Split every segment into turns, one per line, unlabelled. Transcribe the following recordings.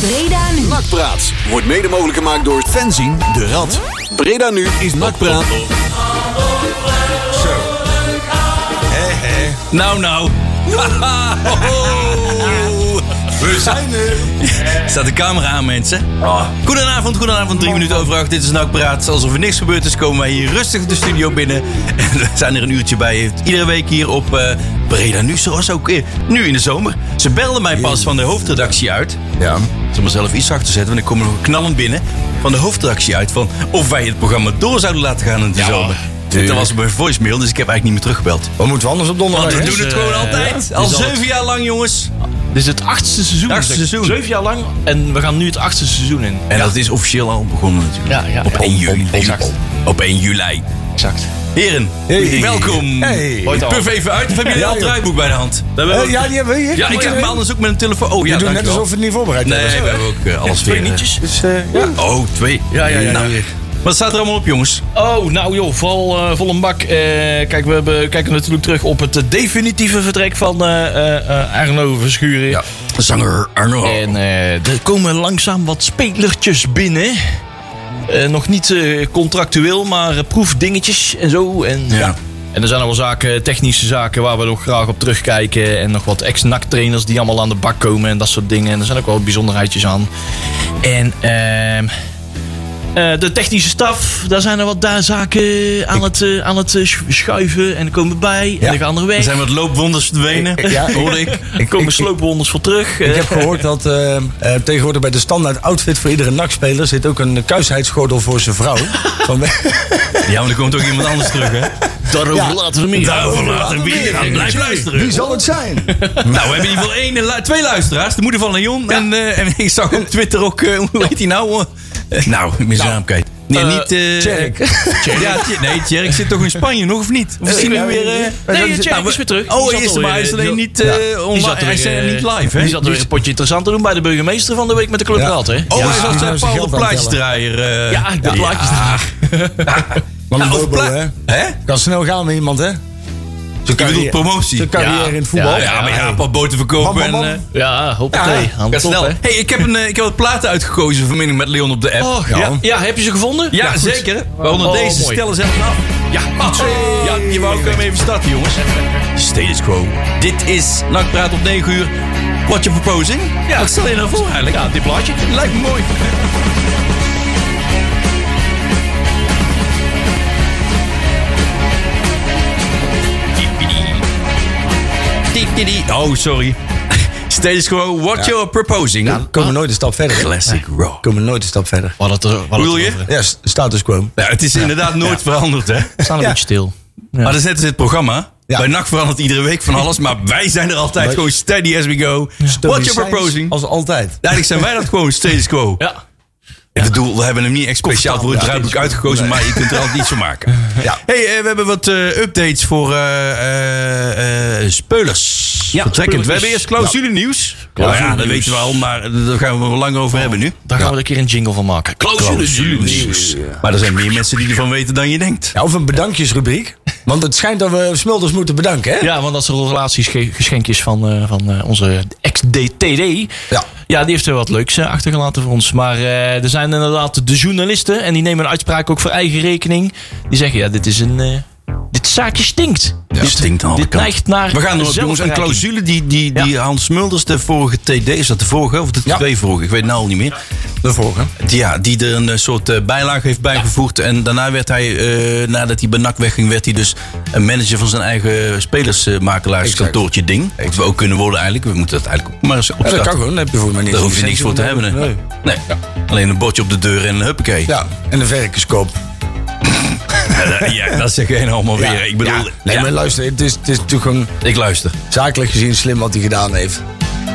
Breda nu.
Nakpraat wordt mede mogelijk gemaakt door Fenzin de Rad. Breda nu is Nakpraat.
Eh,
Nou, nou.
We zijn er. Ah.
Staat de camera aan, mensen. Goedenavond, goedenavond. Drie minuten over acht. Dit is NAC Praat. Alsof er niks gebeurd is, komen wij hier rustig de studio binnen. En we zijn er een uurtje bij. Iedere week hier op eh Breda Nu, zoals ook eh, nu in de zomer. Ze belden mij pas van de hoofdredactie uit.
Ja.
Ik zal mezelf iets zachter zetten, want ik kom nog knallend binnen. Van de hoofdredactie uit van of wij het programma door zouden laten gaan in de zomer. En dat was mijn voicemail, dus ik heb eigenlijk niet meer teruggebeld.
Wat moeten we anders op
Want
donderdag?
we
hè?
doen Eh, het gewoon altijd. Al
Dus al
zeven jaar lang, jongens.
Dit is het achtste seizoen.
Achtste
zeg.
seizoen.
Zeven jaar lang en we gaan nu het achtste seizoen in.
En dat is officieel al begonnen natuurlijk.
Ja, ja.
Op 1 juli. Op 1 juli.
Exact.
Heren,
Hey.
welkom.
Hey.
Hoi,
Puf even uit of hebben jullie
Ja,
al het
joh.
draaiboek bij de hand?
We hebben
Eh, ja, die hebben we hier.
Ja, ik heb me anders ook met een telefoon. Oh ja,
Je doet net
dankjewel.
alsof we het niet voorbereid hebben.
Nee, we hebben ook eh, alles
twee
weer, eh,
nietjes.
Dus, eh, ja.
Oh, twee.
Ja, ja, ja, ja.
Nou, wat staat er allemaal op, jongens?
Oh, nou joh, vol, eh, vol een bak. Eh, kijk, we hebben, kijken natuurlijk terug op het eh, definitieve vertrek van eh, eh, eh, Arno Verschuren.
Ja, zanger Arno.
En eh, er komen langzaam wat spelertjes binnen. Eh, nog niet eh, contractueel, maar eh, proefdingetjes en zo. En, eh,
Ja.
en er zijn nog wel zaken, technische zaken waar we nog graag op terugkijken. En nog wat ex-NAC-trainers die allemaal aan de bak komen en dat soort dingen. En er zijn ook wel wat bijzonderheidjes aan. En ehm, eh, de technische staf, daar zijn er wat daar zaken aan het, eh, aan het eh, schu- schuiven. En er komen bij
Ja.
en er gaan er
Er
weg.
zijn wat loopwonders verdwenen,
Ja, ik-
hoorde ik.
Er komen
ik-
sloopwonders voor terug.
Ik
Eh,
heb gehoord dat eh, eh, tegenwoordig bij de standaard outfit voor iedere NAC-speler zit ook een kuisheidsgordel voor zijn vrouw. Van,
Ja, maar er komt ook iemand anders terug, hè?
Daarover
Ja.
laten we meer.
Daarover later bier aan. Blijf luisteren.
zal het zijn?
Nou, we hebben in ieder geval één, lu- twee luisteraars. De moeder van Leon. En, eh, en ik zag op Twitter ook, eh, hoe heet hij nou? Eh, nou, ik mis zijn naam kwijt. Nee,
Eh,
niet... eh,
Tjerk.
Ja, Tjerk- nee, Tjerk zit toch in Spanje nog, of niet? Of is hij nu
Eh,
weer... eh,
nee,
nou,
Tjerk
we-
is weer terug. Die
Oh,
zat
hij is er,
alweer,
maar hij is
eh,
alleen
die-
niet eh,
Die
online.
zat er
Hij is
weer,
eh,
eh,
niet live, hè?
Die zat er weer een potje interessant te doen bij de burgemeester van de week met de Club
Ja.
Raad, hè?
Oh,
Ja,
hij
die
zat
zijn
Paul de
geld aan het
plaatjesdraaier. eh,
Ja, de plaatjes.
Wat een
Ja,
bobo,
over pla-
hè?
Hè?
Kan snel gaan met iemand, hè? Zijn
Je bedoelt
carrière-
promotie.
Zijn carrière in het voetbal.
Ja, ja, maar ja, een paar boten verkopen
Man, man, man.
en... eh,
Ja, hoppakee.
ja,
Hand op,
snel.
hè?
Hey, ik heb, een, eh, ik heb wat platen uitgekozen vanmiddag met Leon op de app.
Oh,
ja,
ja. ja, heb je ze gevonden?
Ja,
goed.
zeker. Waaronder
Oh,
deze
mooi.
stellen zelf af. Ja, goed zo. Ja, je wou ook even starten, jongens. Status quo. Dit is Nakpraat op 9 uur. What you proposing? Ja, wat stel je nou voor eigenlijk? Ja, dit plaatje. Lijkt me mooi. Oh, sorry. Status quo, what you're proposing.
We komen nooit een stap verder. hè?
Classic
We
rock.
komen nooit een stap verder.
Wat het, er- wat
Hoe wil
het
je?
over-
Ja, s- status quo.
Nou, het is inderdaad nooit veranderd, hè?
We staan een
Ja.
beetje stil.
Maar dat is net als het programma.
Ja.
Bij NAC verandert iedere week van alles. Maar wij zijn er altijd
Wij-
gewoon steady as we go. What
Stoïcijns
you're proposing.
Als altijd.
Eigenlijk zijn wij dat gewoon status quo.
Ja.
Ik bedoel, we hebben hem niet echt speciaal voor het
Ja,
draaiboek
status quo.
uitgekozen. Maar je kunt er altijd iets van maken.
Ja.
hey, eh, we hebben wat eh, updates voor eh, eh, eh, speulers.
Ja,
Vertrekkend.
speulers.
We hebben eerst clausule nieuws. Oh Ja,
Clausule
dat
nieuws.
weten we al. Maar daar gaan we wel lang over hebben nu.
Daar gaan we er een keer een jingle van maken. Clausule nieuws.
Maar er zijn meer mensen die ervan weten dan je denkt.
Ja, of een bedankjesrubriek. Want het schijnt dat we Smulders moeten bedanken, hè?
Ja, want dat zijn relatiegeschenkjes van, eh, van eh, onze ex-DTD.
Ja.
Ja, die heeft er wat leuks eh, achtergelaten voor ons. Maar eh, er zijn inderdaad de journalisten. En die nemen een uitspraak ook voor eigen rekening. Die zeggen, ja, dit is een... eh, dit zaakje stinkt.
Ja,
dit
stinkt aan alle
Dit
kanten.
neigt naar
We gaan er ook, jongens. Een
zelfverrijking.
clausule die, die, die Hans Mulders, de vorige TD, is dat de vorige of de
Ja.
twee vorige? Ik weet nou al niet meer.
De vorige.
Die, Ja, die er een eh, soort eh, bijlage heeft bijgevoegd. En daarna werd hij, eh, nadat hij bij NAC wegging, werd hij dus een manager van zijn eigen spelersmakelaarskantoortje ding. Wat we ook kunnen worden eigenlijk. We moeten dat eigenlijk ook maar eens
Ja, dat kan
opstarten.
gewoon. Daar heb je voor mij niks
Daar hoef je niks
niks
voor te hebben. hè.
Nee.
Nee. Alleen een bordje op de deur en een huppakee.
Ja, en een verkenskoop.
Ja, ja, dat zeg jij nou allemaal weer. Ik bedoel,
Ja. Nee,
ja,
maar luister, het is, het is natuurlijk gewoon
ik luister.
zakelijk gezien slim wat hij gedaan heeft.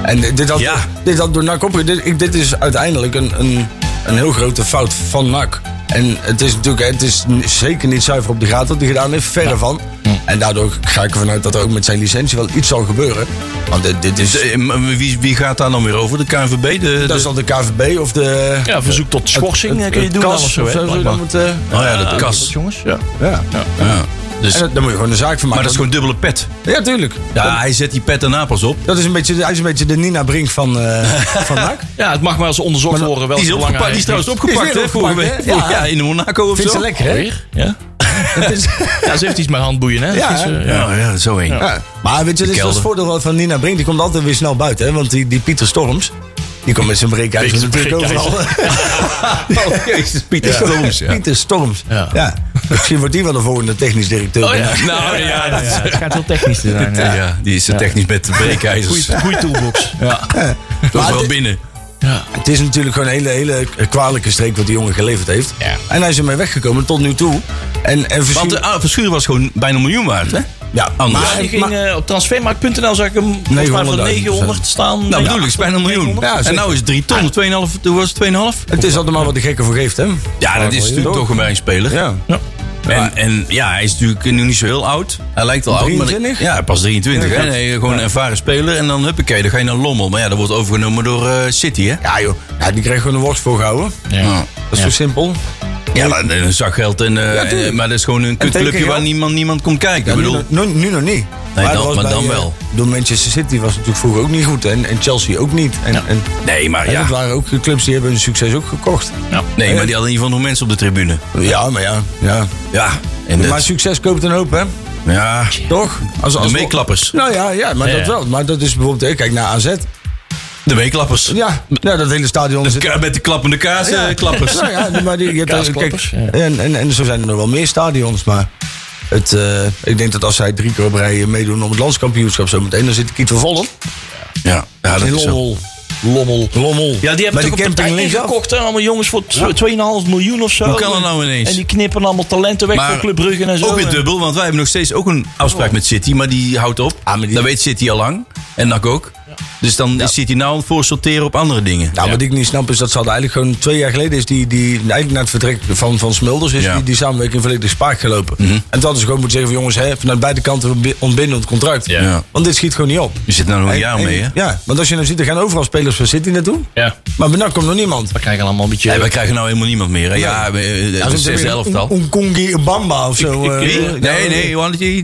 En dit- dit had,
Ja.
dit had door NAC op. Dit, ik- dit is uiteindelijk een, een, een heel grote fout van NAC. En het is natuurlijk hè, het is n- zeker niet zuiver op de graad wat hij gedaan heeft. Verre van. En daardoor ga ik ervan uit dat er ook met zijn licentie wel iets zal gebeuren. Want dit, dit is,
Dus, eh, m- wie, wie gaat daar dan weer over? De KNVB? De,
dat
de-
is dan de KVB of de...
Ja, verzoek tot schorsing
het-
eh, kun je
het
doen.
KAS
dan of zo,
of
hè,
zo, zo,
blijkbaar.
dan moet, eh,
Oh ja, dat
Ja,
kas.
Jongens, ja.
ja.
Ja. Dus,
En dat- daar moet je gewoon een zaak van
maar
maken.
dat is gewoon dubbele pet.
Ja, tuurlijk.
Ja, hij zet die pet daarna pas op.
Dat is een beetje, hij is een beetje de Nina Brink van, eh van NAC.
Ja, het mag maar eens onderzocht worden. Wel
Die is, opgepakt, die is trouwens opgepakt,
weer
hè, vorige
opgepakt,
week. Ja.
hè? Ja.
in Monaco of
Vindt
zo.
ze lekker, hè?
Ja?
Dat is-
ja, ze heeft iets met handboeien, hè?
Ja,
Dat is, eh, ja.
Ja, Oh ja, zo heen.
Ja. Maar weet je, dit is wel
kelder.
het voordeel wel van Nina Brink. Die komt altijd weer snel buiten, hè? Want die, die Pieter Storms, die komt met zijn breekijzer
Pieter
natuurlijk
breekijzer.
overal.
Oh, jezus, Pieter Storms. Ja.
Pieter Storms.
Ja.
Ja. Misschien wordt die wel de volgende technisch directeur.
Oh, ja.
Nou ja, dat is-
het gaat heel technisch te zijn.
dus, ja. Dus- die is er technisch met de breekijzers.
Goeie eh, toolbox. Ja.
Toch wel
dit-
binnen.
Het is natuurlijk gewoon een hele, hele kwalijke streek wat die jongen geleverd heeft.
Ja.
En hij is ermee weggekomen tot nu toe. En, en
Want de
verschil...
ah, Verschuren was gewoon bijna een miljoen waard, hè?
Ja,
Anders.
Ja, die ging eh, op transfermarkt.nl zag ik hem volgens mij voor
900.000
900 staan.
Nou,
Nee,
bedoel ik, het is bijna een miljoen.
Ja,
en
zeker. Ah,
nou is het 3 ton, 2,5, toen was het 2,5.
het is altijd maar wat de gekke voor geeft, hè?
Ja, dat is natuurlijk toch een speler.
Ja.
Ja.
En, en ja, hij is natuurlijk nu niet zo heel oud. Hij lijkt al oud. Maar,
23?
ja, pas 23. hè? Nee, gewoon een ervaren speler. En dan huppakee, dan ga je naar Lommel. Maar ja, dat wordt overgenomen door eh, City, hè?
Ja, joh. Ja, die krijgt gewoon een worst voorgehouden.
Ja.
Dat is zo simpel.
Ja, maar een zakgeld. En, eh,
tuurlijk.
en- maar dat is gewoon een kutclubje
tekengeld.
waar niemand, niemand komt kijken.
Ja,
Ik
nu,
bedoel,
nog- nu, nu nog niet.
dan-
dat was
maar dan
eh,
wel.
Door Manchester City was het natuurlijk vroeger ook niet goed. En, en Chelsea ook niet. En, en,
nee, maar
en
ja.
dat waren ook de clubs die hebben hun succes ook gekocht.
Nee, maar die hadden in ieder geval nog mensen op de tribune.
Ja, maar ja. ja.
Ja, en
Maar
dat,
succes koopt een hoop, hè?
ja
Toch? Als,
de
als
meeklappers.
Nou ja, ja maar
Ja, ja.
dat wel. Maar dat is bijvoorbeeld, eh, kijk naar AZ.
De meeklappers.
Ja, ja dat hele stadion zit...
Ka- Met de klappende kaas, eh, klappers.
Nou ja, maar die, je hebt daar- kijk,
Kaasklappers, ja.
en, en, en zo zijn er nog wel meer stadions, maar... Het, eh, ik denk dat als zij drie keer op rij meedoen om het landskampioenschap zo meteen, dan zit Kiet van Vollen.
Ja, ja dat
In
is zo.
Lommel. Lommel. Lommel.
Ja, die hebben
Maar
toch op de
camping
tijd
linksaf.
ingekocht. Hè? Allemaal jongens voor tw- 2,5 miljoen of zo.
Hoe kan dat nou ineens?
En die knippen allemaal talenten weg voor Club Brugge en zo. eh.
Ook weer dubbel, want wij hebben nog steeds ook een afspraak met City, maar die houdt op. Dat weet City al lang. En NAC ook. Dus dan is City nou voor sorteren op andere dingen.
Nou, wat ik niet snap is dat ze hadden eigenlijk gewoon twee jaar geleden is die, die eigenlijk na het vertrek van, van Smulders is
Ja. Mhm.
die, die samenwerking volledig spaak gelopen. En toen hadden ze gewoon moeten zeggen van jongens, hè, vanuit beide kanten ontbi- ontbinden het contract.
Ja.
Want dit schiet gewoon niet op.
Je zit nou nog een
En-
jaar
en-
mee, hè?
Ja, want als je nou ziet, er gaan overal spelers van City naartoe.
Ja.
Maar benak komt nog niemand.
We krijgen allemaal een beetje...
Nee, wij krijgen nou helemaal niemand meer. Hè? Ja, we- eh,
Ja,
de
zo'n
zesde elftal.
Onkongi Bamba of zo. eh,
Wie?
ja,
Nee, nee, Johannes.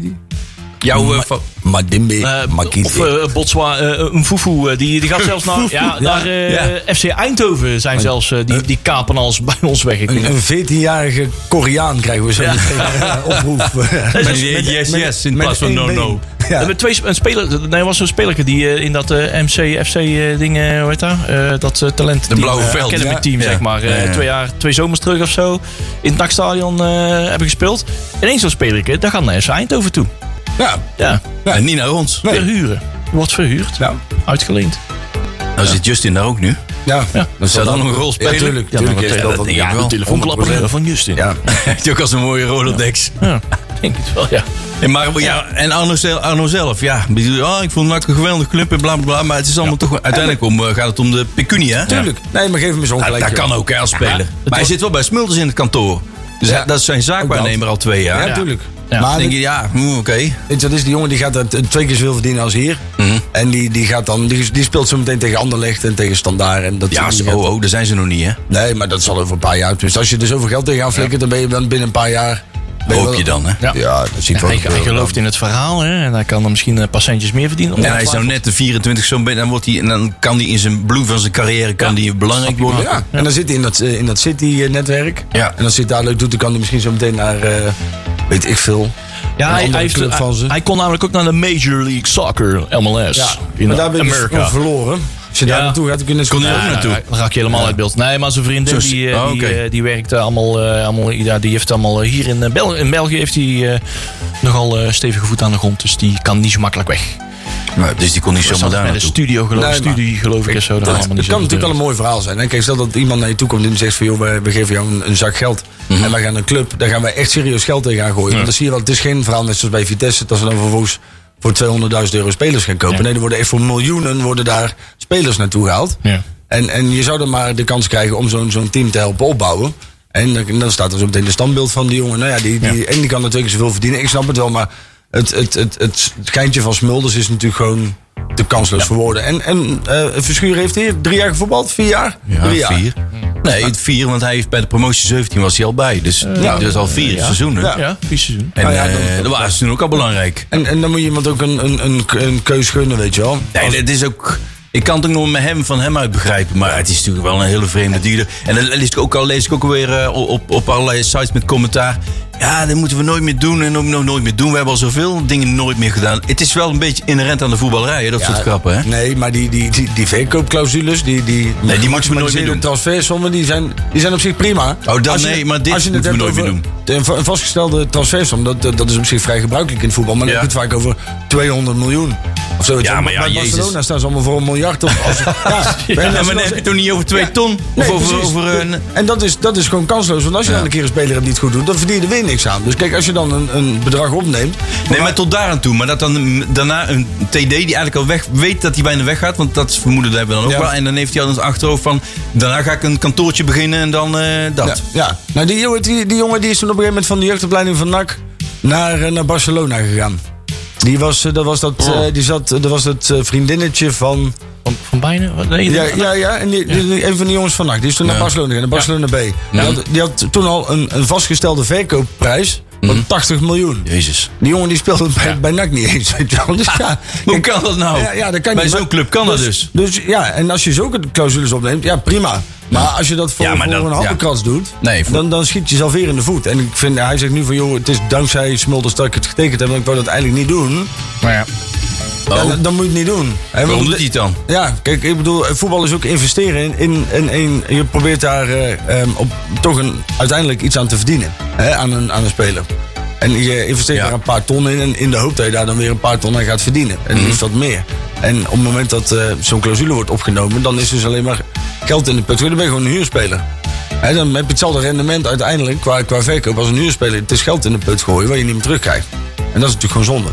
Jouw... eh, fa-
Madimbe,
Eh,
Makiti.
of eh Botswa, eh, een Fufu, eh, die, die gaat zelfs naar, ja, naar eh, FC Eindhoven zijn zelfs, eh, die, die kapen alles bij ons weg. Ik-
een een 14-jarige Koreaan krijgen we zo meteen eh, oproef.
Met die yes, yes in
Met
plaats van
één
no,
been.
no.
We
Ja.
hebben twee sp- een speler, nee, er was zo'n spelerke die eh, in dat MC-FC-ding, hoe heet dat? Eh, dat eh, talent
De blauwe veld,
Academy
ja.
team,
Ja.
zeg maar. eh,
Ja, ja.
Twee, jaar, twee zomers terug of zo. In het NAC-stadion eh, hebben gespeeld. En één zo'n spelerke, daar gaat naar FC Eindhoven toe.
Ja.
Ja,
En niet naar ons.
Nee.
verhuren. Wordt verhuurd,
Ja.
uitgeleend.
Nou zit Justin daar ook nu.
Ja,
Ja.
dat
Zou dat nog een rol
Ja,
spelen?
natuurlijk.
Ja,
natuurlijk
nou,
is
dat-
dat
dat
wat-
denk ik wel.
ja,
Telefoonklapper van Justin. Ja.
Ja.
Heeft hij ook als een mooie Rolodex.
denk het wel, ja.
En, maar, ja, en Arno, zel- Arno zelf, ja. Ik bedoel, Oh, ik vond NAC een geweldige club en bla bla bla. Maar het is allemaal toch uiteindelijk om, eh, gaat het om de pecunia. hè?
Tuurlijk. Nee, maar geef hem eens
Ja,
ongelijk.
dat
joh.
kan ook hè, als speler. maar hij
was-
zit wel bij Smulders in het kantoor. Dus
Ja,
hij- dat is zijn zaakwaarnemer al twee jaar.
Ja,
Ja.
natuurlijk.
Ja.
Maar
Dan denk
dit-
je, ja, mm, oké.
weet je, dat is die jongen die gaat er t- twee keer zoveel verdienen als hier.
Mhm.
En die, die, gaat dan, die, die speelt zo meteen tegen Anderlecht en tegen Standaard. En dat
Ja,
die
zo,
gaat-
oh, oh, daar zijn ze nog niet, hè?
Nee, maar dat zal over een paar jaar. Dus als je er zoveel geld tegenaan flikkert, dan ben je dan binnen een paar jaar... ben
Hoop
wel-
je dan, hè?
Ja.
Ja, dat ziet wel
Hij, hij
gebeuren.
gelooft in het verhaal hè, en hij kan dan misschien een paar centjes meer verdienen.
En hij is nou net de 24 zo ben, dan, wordt hij, en dan kan hij in zijn bloem van zijn carrière kan
Ja.
die belangrijk worden.
Ja, en dan zit hij in dat, eh, in dat City-netwerk.
Ja.
En als hij het daar leuk doet, dan kan hij misschien zo meteen naar... eh, weet ik veel.
Ja, hij,
Een andere
hij heeft-
club
hij-
van ze.
hij kon namelijk ook naar de Major League Soccer, MLS,
Ja,
in
maar daar ben je dus
Amerika.
van verloren. Als je daar
Ja.
naartoe gaat, dan kun je net zo
Kon
goed-
hij ook
Ja,
naartoe.
daar Ah, raak je helemaal uit beeld. Nee, maar zijn vriendin
Zo-
die, eh,
oh,
die,
oké.
eh, die werkt eh, allemaal, eh, allemaal ja, die heeft allemaal eh, hier in, eh, Bel in België heeft hij eh, nogal eh, stevige voet aan de grond, dus die kan niet zo makkelijk weg.
Nou, dus die kon niet
Dus
zomaar
dat
daar
met een
naartoe.
studio geloof,
Nee, maar-
studie, geloof ik en zo. Dat,
Dat,
allemaal
dat
niet
kan
zo
natuurlijk wel een mooi verhaal zijn. Hè? Kijk, stel dat iemand naar je toe komt en zegt van... joh, we, we geven jou een, een zak geld.
Mhm.
En wij gaan een club, daar gaan wij echt serieus geld tegen gaan gooien. Want dan zie je wel, het is geen verhaal net zoals bij Vitesse... dat ze dan vervolgens voor 200.000 euro spelers gaan kopen.
Ja.
Nee, er worden echt voor miljoenen worden daar spelers naartoe gehaald.
Ja.
En, en je zou dan maar de kans krijgen om zo'n zo'n team te helpen opbouwen. En dan, dan staat er zo meteen de standbeeld van die jongen. Nou ja, die, die, En die kan natuurlijk zoveel verdienen. Ik snap het wel, maar het, het, het, het schijntje van Smulders is natuurlijk gewoon te kansloos voor woorden. En, en eh Verschuren heeft hier drie jaar gevoetbald, vier jaar?
Ja,
drie jaar.
vier. Nee, het vier, want hij heeft bij de promotie 17 was hij al bij. Dus dat is al vier seizoenen.
Ja, vier seizoen.
En
Nou ja, dan-
eh, dat was toen ook al belangrijk.
En, en dan moet je iemand ook een, een, een, een keus gunnen, weet je wel.
Nee, dat is ook. Ik kan het ook nog met hem van hem uit begrijpen. Maar het is natuurlijk wel een hele vreemde dealer. En dat lees ik ook al lees ik ook weer eh, op, op allerlei sites met commentaar. Ja, dat moeten we nooit meer doen en ook nog nooit meer doen. We hebben al zoveel dingen nooit meer gedaan. Het is wel een beetje inherent aan de voetballerij, hè, dat soort grappen. Hè?
Nee, maar die, die, die, die verkoopclausules, die, die,
Nee, die moeten we nooit meer doen.
transfersommen, die zijn, die zijn op zich prima.
Oh, dat
Als je-
nee, maar dit
als je het
moeten we
hebt
nooit meer
over de- Een va- vastgestelde transfersom, dat, dat dat is op zich vrij gebruikelijk in het voetbal. Maar dan
Ja.
heb je het vaak over 200 miljoen. Of zo.
Ja, maar ja,
Bij
Jezus.
Barcelona staan ze allemaal voor een miljard. Of, als, ja, bij
Ja,
Barcelona-
maar dan heb je het toch niet over twee ton? Of
Nee,
over,
precies.
over eh, een.
En dat is, dat is gewoon kansloos. Want als je dan een keer een speler hebt die het goed doet, dan verdien je er weer niks aan. Dus kijk, als je dan een, een bedrag opneemt.
Nee, maar tot daar aan toe. Maar dat dan mm, daarna een TD die eigenlijk al weg weet dat hij bijna weggaat. Want dat vermoeden hebben we dan ook
Ja.
wel. En dan heeft hij al in het achterhoofd van... Daarna ga ik een kantoortje beginnen en dan eh,
Ja,
dat.
ja. Nou, die, jongen- die, die jongen die is toen op een gegeven moment van de jeugdopleiding van NAC naar, eh, naar Barcelona gegaan. Die was, eh, dat was dat,
Oh.
eh, die zat, eh, dat, was dat eh, vriendinnetje van...
Van, van bijna? Nee,
Ja,
dat-
ja, ja en die, die- die- een van die jongens van NAC. Die is toen naar Barcelona gegaan, naar Barcelona B. Die, had, die had toen al een, een vastgestelde verkoopprijs van 80 miljoen.
Mhm. Jezus.
Die jongen die speelde bij, bij NAC niet eens, weet je wel. Dus ja,
Hoe
ik-
kan dat nou?
Ja, ja, dat kan
Bij
niet.
zo'n
Maar-
club kan dat dus.
Dus ja, en als je zulke clausules opneemt, ja prima. Maar als je dat voor,
Ja, maar
voor
dat-
een
ja.
handenkrans doet,
Nee, voor-
dan, dan schiet je zelf weer in de voet. En ik vind, hij zegt nu van, joh, het is dankzij Smulders dat ik het getekend heb, want ik wou dat eigenlijk niet doen.
Maar ja.
Ja, dan, dan moet je het niet doen. Hè, want-
Waarom doet hij het dan?
Ja, kijk, ik bedoel, voetbal is ook investeren in, in, in, in- je probeert daar eh, ehm, op, toch een, uiteindelijk iets aan te verdienen, hè, aan, een, aan een speler. En je investeert
Ja.
daar een paar ton in, en in de hoop dat je daar dan weer een paar ton aan gaat verdienen. En liefst wat meer. En op het moment dat eh, zo'n clausule wordt opgenomen, dan is dus alleen maar geld in de put. Dan ben je gewoon een huurspeler. Hè, dan heb je hetzelfde rendement uiteindelijk qua, qua verkoop als een huurspeler. Het is geld in de put gooien waar je niet meer terugkrijgt. En dat is natuurlijk gewoon zonde.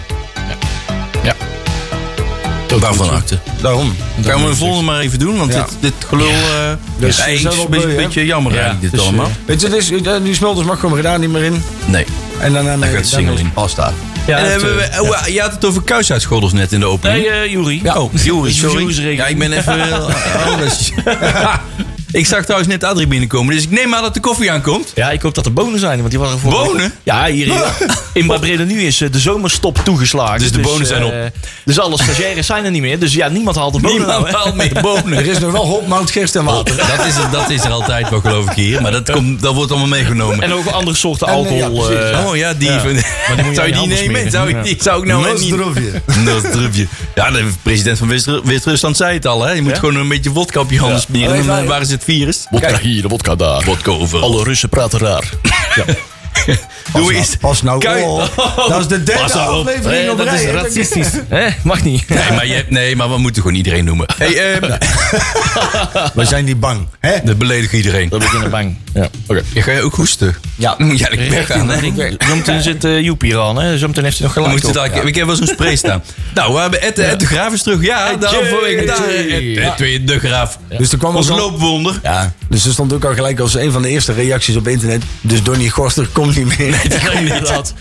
ja.
Waarvan acte?
Daarom.
Gaan we een volgende maar even doen, want
Ja.
dit, dit gelul... eh
Dus
ja,
het
het
is wel
is een
wel
beetje,
beu, hè?
beetje jammer eigenlijk dit
dus,
allemaal.
Weet je, het is, eh, die smelters mag gewoon gedaan niet meer in.
nee.
En daarna
gaat
dan
single
is
in.
het pasta.
Ja,
en
het,
hebben we,
eh,
oh, Je had het over kuisheidsgordels net in de opening.
Nee, eh Juri.
Ja, oh, Joris,
Is voor Joris
sorry.
rekening.
Ja, ik ben even eh, anders. ik zag trouwens net Adrie binnenkomen, dus ik neem aan dat de koffie aankomt.
Ja, ik hoop dat er bonen zijn, want die waren voor.
Bonen?
Ja, hier in, in Bad Breda nu is eh, de zomerstop toegeslagen.
Dus de bonen
eh,
zijn op.
Dus alle stagiaires zijn er niet meer. Dus ja, niemand haalt de bonen. nou,
Niemand
hè.
haalt meer bonen.
Er is nog wel hopmout, gist en water.
Dat is, er- dat is er altijd wel, geloof ik, hier. Maar dat, komt, dat wordt allemaal meegenomen.
En ook andere soorten
En, eh, ja,
alcohol.
precies.
eh,
oh ja, die. van-
die moet
zou
je
je
aan
die
je handen
nemen?
smeren.
Zou ik,
Ja.
die, zou ik nou net niet...
Nozdrobje.
Nozdrupje. Ja, de president van Wit- Wit-Rusland zei het al, hè. Je moet gewoon een beetje wodka op je handen smeren.
Alleen
En dan
wij-
waar is het virus?
Wodka Oh, hier, wodka daar.
Wodka over.
Alle Russen praten raar.
Doe eens.
Pas nou
Kijk.
op. Dat is de derde
Pas nou op.
aflevering
Eh,
op
dat
rij,
is
hè.
racistisch. Hè? Mag niet.
Nee maar, je, hebt- nee, maar we moeten gewoon iedereen noemen. Hey, eh,
ehm.
We zijn niet bang. Hè?
Dat beledigt iedereen.
Dat beginnen bang. Ja, oké.
Ja, ga je ook hoesten?
Ja.
Dan Moet je eigenlijk weggaan, hè?
Zometeen zit eh, Joep hier al, hè? Zometeen heeft hij nog
Dan
gelijk.
moet je daar, Ik heb wel zo'n spray staan. Nou, we hebben Ed, Ed de Graaf is terug. Ja, daarom vanwege daar. Ed, Ed Twee de Graaf.
Dus er kwam
Ons
ook al-
loopwonder.
Ja, dus er stond ook al gelijk als een van de eerste reacties op internet. Dus Donny Gorster komt niet meer.
inderdaad.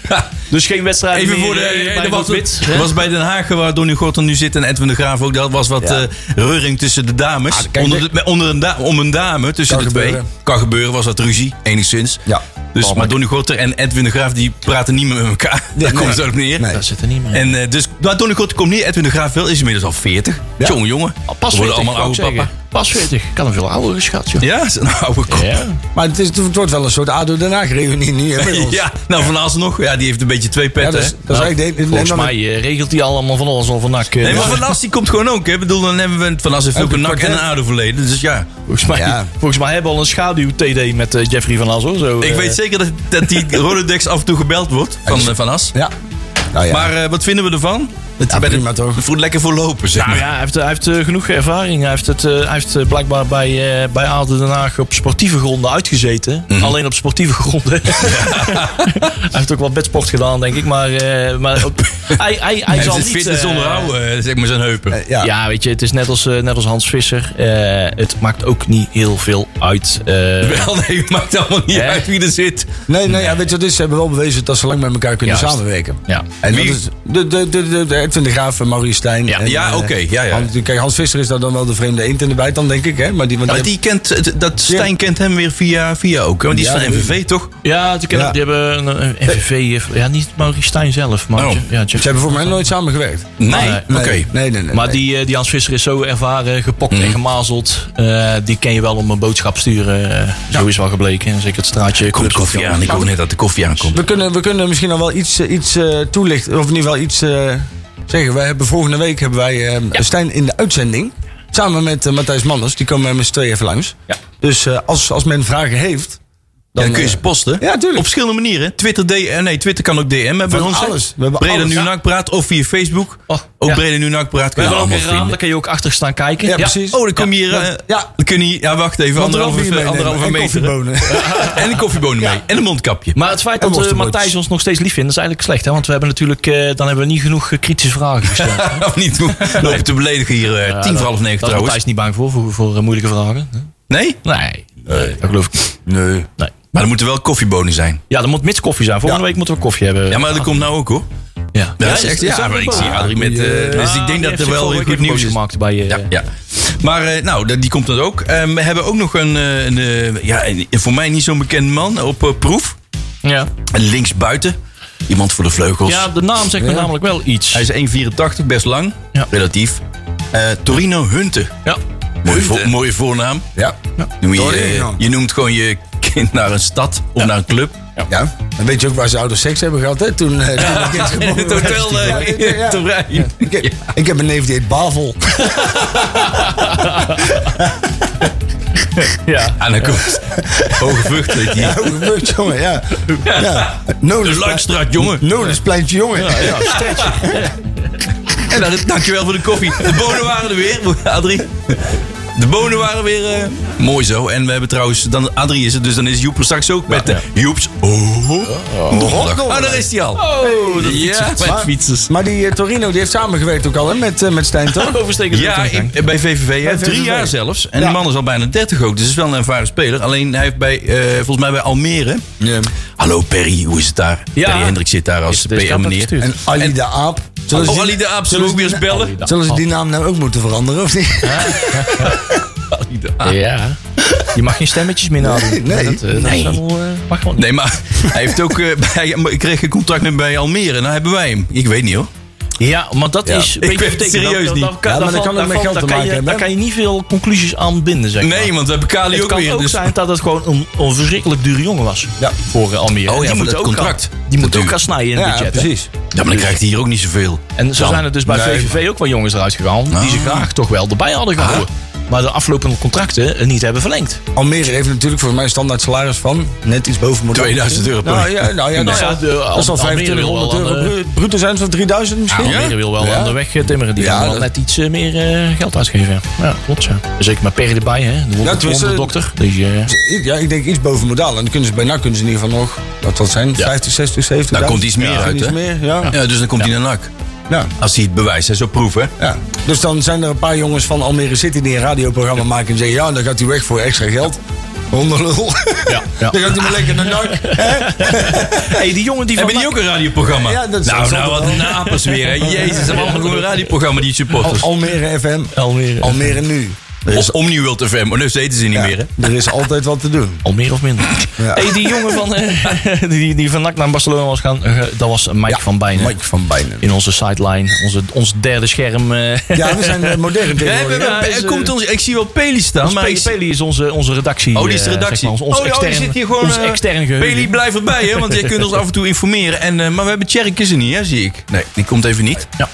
Dus geen wedstrijd
Even
meer,
voor de.
eh, bij
er was,
Rood-Wit,
er
hè?
was bij Den Haag, waar Donny Gorton nu zit en Edwin de Graaf ook. Dat was wat eh, reuring tussen de dames.
kijk,
onder
dit-
de- onder een da- om een dame tussen
Kan
de twee.
gebeuren.
Kan gebeuren, was dat ruzie, enigszins.
Ja.
Dus, maar Donny Gorter en Edwin de Graaf die praten niet meer met elkaar. Daar
nee.
komt het ook op neer.
Nee.
Daar zit er niet meer.
En eh, dus, maar Donny Gorter komt niet. Edwin de Graaf wel is inmiddels al 40.
Ja.
Jongen, jongen.
Oh, Pas
We worden
40,
allemaal
wou ik
oude papa.
zeggen. Pas 40. Ik had een veel oudere schat, joh.
Ja, zo'n oude kop. Ja.
Ja.
Maar het, is, het wordt wel een soort ADO Den Haag reunie nu. Hè, met ons.
nou van nog. Ja, die heeft een beetje twee
Ja,
petten.
dat is,
hè?
dat is
Nou,
eigenlijk de-
Nou, Volgens
en dan-
mij eh, regelt hij allemaal van alles al van nak. eh,
Nee, maar
dus-
Van As die komt gewoon ook. Hè. Ik bedoel, dan hebben we een- Van As heeft ook
de
een nak en
kwartet.
een aarde verleden. Dus ja,
volgens, mij,
Ja.
volgens mij hebben we al een schaduw-TD met eh, Jeffrey Van As, hoor. Zo,
ik
eh,
weet zeker dat, dat die Rolodex af en toe gebeld wordt van eh, Van As.
Ja. Nou ja.
Maar eh, wat vinden we ervan? Het
Ja,
bij de-
prima toch?
het voelt lekker voorlopen, zeg
Nou
maar.
ja, hij heeft, hij heeft eh, genoeg ervaring. Hij heeft, het, eh, hij heeft eh, blijkbaar bij, eh bij Aden Den Haag op sportieve gronden uitgezeten. Alleen op sportieve gronden. hij heeft ook wel bedsport gedaan, denk ik. Maar, eh, maar ook- hij, hij, hij
Hij
zal
heeft
niet...
het fitness
eh,
onderhouden, eh, zeg maar, zijn heupen.
Eh, ja.
ja. weet je, het is net als, eh, net als Hans Visser. Eh, het maakt ook niet heel veel uit. eh,
Wel, nee, het maakt allemaal niet
Hè?
uit wie er zit.
Nee, nee, ja, weet je wat het is? Ze hebben wel bewezen dat ze lang met elkaar kunnen
Juist.
samenwerken.
ja.
En
Wie-
dat is, de, de, de, de, de- Edwin de Graaf en Maurice Stijn.
Ja,
en,
ja,
eh,
oké, ja, ja.
Hans- kijk, Hans Visser is daar dan wel de vreemde eend in de bijt, dan denk ik. Hè? Maar die, want
Ja, maar
die-
die kent, het- dat Stijn kent hem weer via, via ook. hè? Want die is
Ja,
van
dat
MVV, toch?
Ja, die, kennen,
Ja.
die hebben een, een NVV. eh, Ja, niet Maurice Stijn zelf. Maar
Oh.
Ja, Jeff-
Ze hebben voor mij nooit samengewerkt.
Nee,
Nee.
oké.
Nee, nee, nee, nee,
maar
nee.
die, eh, die Hans Visser is zo ervaren, gepokt
Mhm.
en gemazeld. Eh, die ken je wel om een boodschap sturen. eh, Zo is wel gebleken. En Zeker het straatje.
Komt de
clubs-
koffie aan. Ik hoor net dat de koffie aankomt.
We kunnen, we kunnen misschien al wel iets, eh, iets eh, toelichten. Of in ieder geval iets eh, zeggen. Wij hebben, volgende week hebben wij eh, Stijn in de uitzending. Samen met eh, Matthijs Manders. Die komen met z'n tweeën even langs.
Ja.
Dus eh, als, als men vragen heeft...
Dan, kun je
eh,
ze posten.
ja, tuurlijk.
Op verschillende manieren. Twitter, D, eh, nee, Twitter kan ook DM. We hebben
Van
ons hè?
alles. We hebben
Breda
alles.
Nu
Ja.
Nak Praat of via Facebook.
Oh,
ook
ja.
Breda Nu Nak Praat kunnen
We hebben ook
allemaal
een raam, daar
vrienden.
kun je ook achter staan kijken.
Ja, precies.
Oh, dan kom je hier.
Ja.
eh,
Ja.
Dan kun je, ja, wacht even.
Want er ook
Anderhalve,
bier meenemen
anderhalve
en
meter.
koffiebonen.
en een koffiebonen mee. En een mondkapje.
Maar het feit
En
dat eh,
worstenbroodjes.
Matthijs ons nog steeds lief vindt, is eigenlijk slecht. Hè? Want we hebben natuurlijk, eh, dan hebben we niet genoeg eh, kritische vragen gesteld. Daar
of niet we lopen te beledigen hier. eh, tien voor half negen
is Matthijs
trouwens.
niet bang voor, voor, voor, eh, moeilijke vragen.
Nee?
Nee, dat geloof ik niet.
Nee.
Nee.
Maar er moeten wel koffiebonen zijn.
Ja, er moet mits koffie zijn. Volgende week moeten we koffie hebben.
Ja, maar dat komt nou ook hoor.
ja.
Ja, is echt, ja, maar ik zie Adrie met... eh, dus
Ah,
ik denk dat er wel weer goed nieuws is.
gemaakt bij eh, je.
Ja, ja. Maar eh, nou, dat- die komt dan ook. Eh, we hebben ook nog een, eh, een, eh, ja, een- voor mij niet zo'n bekend man op eh, proef.
Ja.
Linksbuiten. Iemand voor de vleugels.
Ja, de naam zegt me namelijk wel iets.
Hij is 1,84, best lang.
Ja.
Relatief. Eh, Torino Hunte.
Ja.
Mooie, vo- mooie voornaam.
Ja.
Noem je, eh,
Torino.
je noemt gewoon je kind naar een stad of naar een club.
ja. Dan weet je ook waar ze ouders seks hebben gehad, hè? Toen, eh, toen ik kind geboren werd. Ja,
eh,
ja, ja.
te rijden.
Ik, heb- ik heb een neef die heet Bavel.
ja.
En dan komt hoge vlucht. weet je.
Hoe gebeurt, jongen? Ja. ja.
Dus De Langstraat, jongen.
Nolenspleintje, jongen. Ja.
En dan, dankjewel voor de koffie. De bonen waren er weer, Adrie. De bonen waren weer... eh, Mooi zo. En we hebben trouwens... Dan, Adrie is het, dus dan is Joep er straks ook met... de Joeps... Oh, donderdag. Ah, daar is hij al.
Oh, dat
ja, met
Maar-
fietsers.
Maar die eh, Torino die heeft samengewerkt ook al hè, met, eh, met Stijn, toch?
Overstekend.
Ja, in- bij VVV. Hè?
VVV.
Drie jaar zelfs. En
Ja.
die man is al bijna 30 ook. Dus is wel een ervaren speler. Alleen hij heeft bij, eh, volgens mij bij Almere.
Ja.
Hallo Perry, hoe is het daar?
Ja.
Perry Hendrik zit daar als
Heeft deze kant
PR-meneer.
opgestuurd.
En Ali de Aap. Zullen ze
Oh,
die-
Ali de Aap, zullen
zullen
we ook
ze
weer
die-
eens bellen?
Zullen ze die naam nou ook moeten veranderen, of niet?
Ah,
Ja. Je mag geen stemmetjes meer nadoen.
Nee, nee.
Dat, eh, dat
Nee.
is allemaal, eh, mag gewoon niet.
Nee, maar hij heeft ook, eh, bij, maar ik kreeg een contact met bij Almere. Nou hebben wij hem. Ik weet niet hoor.
Ja, maar dat is...
Ik weet het serieus niet.
Ja, maar dat kan ook met geld te maken hebben,
Daar
hè?
kan je niet veel conclusies aan binden, zeg maar.
Nee, want we hebben Kali
Het
ook
kan
weer.
ook
dus-
zijn dat het gewoon een, een verschrikkelijk dure jongen was.
Ja.
Voor eh, Almere.
Oh ja,
die
voor
moet
dat
ook
contract.
Gaan, die moet ook
Natuurlijk.
gaan snijden in het
Ja,
budget. hè?
precies.
Ja, maar dan krijgt hij hier ook niet zoveel.
En zo
Dan.
zijn er dus bij
Nee, Nou. Ah.
VVV ook wel jongens eruit gegaan. Die ze
Ah.
graag toch wel erbij hadden gehouden. Maar de aflopende contracten eh, niet hebben verlengd.
Almere heeft natuurlijk voor mij standaard salaris van net iets boven moet
2000 euro per
Nou
week.
ja, nou ja, dat
Nou ja,
zal-
de-
dat zal
Almere wil
2500
wel
euro
een,
bru- bruto zijn, of 3000 misschien?
Almere wil wel
Ah. Ja.
aan de weg eh, timmeren. Die
Ja,
gaan wel
dat-
net iets eh, meer eh, geld uitgeven. Ja, klopt zo. Zeker met Perry erbij, hè. De wonder-
tenminste-
wonderdokter. Die, eh,
Ik- Ja, ik denk iets boven modaal. En dan kunnen ze bij NAC kunnen ze in ieder geval nog, wat dat zijn, 50, 60, 70.
Daar komt iets meer uit,
Iets
hè?
meer, ja. Ja.
Ja, dus dan komt hij naar NAC.
Ja.
Als hij het bewijst, hè, zo proeven.
Dus dan zijn er een paar jongens van Almere City die een radioprogramma maken en zeggen, ja, dan gaat hij weg voor extra geld. Honderlul.
ja, ja.
Dan gaat hij maar lekker naar NAC.
Hey, die jongen die van...
Hebben die ook een radioprogramma?
Ja, dat is-
nou,
dat
nou,
zal
wat
wel.
een apers weer. Hè. Jezus, ze hebben allemaal gewoon een radioprogramma, die supporters.
Almere FM.
Almere.
Almere nu. Er
Of
is,
Omni World FM, maar dus eten ze niet
ja,
meer. Hè.
er is altijd wat te doen.
Almere of minder.
Ja.
Hey, die jongen van, eh, die, die van NAC naar Barcelona was gaan, eh, dat was Mike van Bijnen.
Mike van Bijnen.
In onze sideline, onze, ons derde scherm. eh.
Ja, we zijn eh, modern
Ja, we-
tegenwoordig.
we-
Ja,
er
is, eh,
komt ons, ik zie wel Peli staan,
Ons
maar ik
Peli,
zie-
Peli is onze, onze redactie.
Oh, die is de
eh,
redactie.
zeg maar, ons, ons
oh, ja,
extern,
die zit hier gewoon.
ons
eh,
extern geheugen.
Peli, blijf erbij, hè, want jij kunt ons af en toe informeren. En, eh, maar we hebben Tjerk is er niet, hè, zie ik. Nee, die komt even niet.
Ja.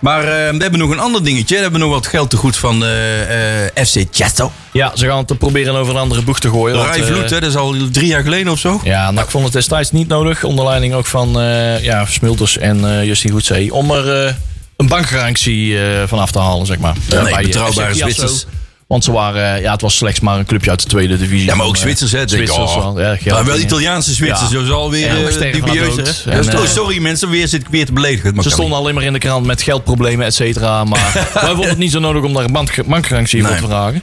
Maar eh, we hebben nog een ander dingetje. We hebben nog wat geld te goed van eh, eh, FC Chesto.
Ja, ze gaan het eh, proberen over een andere boeg te gooien. want,
Rijvloed,
eh,
hè, dat is al drie jaar geleden of zo.
Ja, NAC vond het destijds niet nodig. Onder leiding ook van eh, ja, Smilders en eh Justin Goedzee. Om er eh, een bankgarantie eh, van af te halen, zeg maar. Eh,
nee, betrouwbare
FC Piazza.
Zwitsers.
Want ze waren, eh, ja, het was slechts maar een clubje uit de tweede divisie.
Ja, maar ook
Van, eh,
Zwitsers, hè? Denk, ik,
Zwitsers,
oh,
wel, ja, geld,
maar wel
ja.
Italiaanse Zwitsers,
Ja.
zo zal weer
En ook
eh,
Sterren van
dubieus.
Dood.
hè?
En,
Dus- oh,
eh,
sorry mensen, weer zit ik weer te beledigen. Maar
Ze
kan
stonden alleen maar in de krant met geldproblemen, et cetera. Maar wij vonden het niet zo nodig om daar een bank- bankgarantie voor
Nee.
te vragen.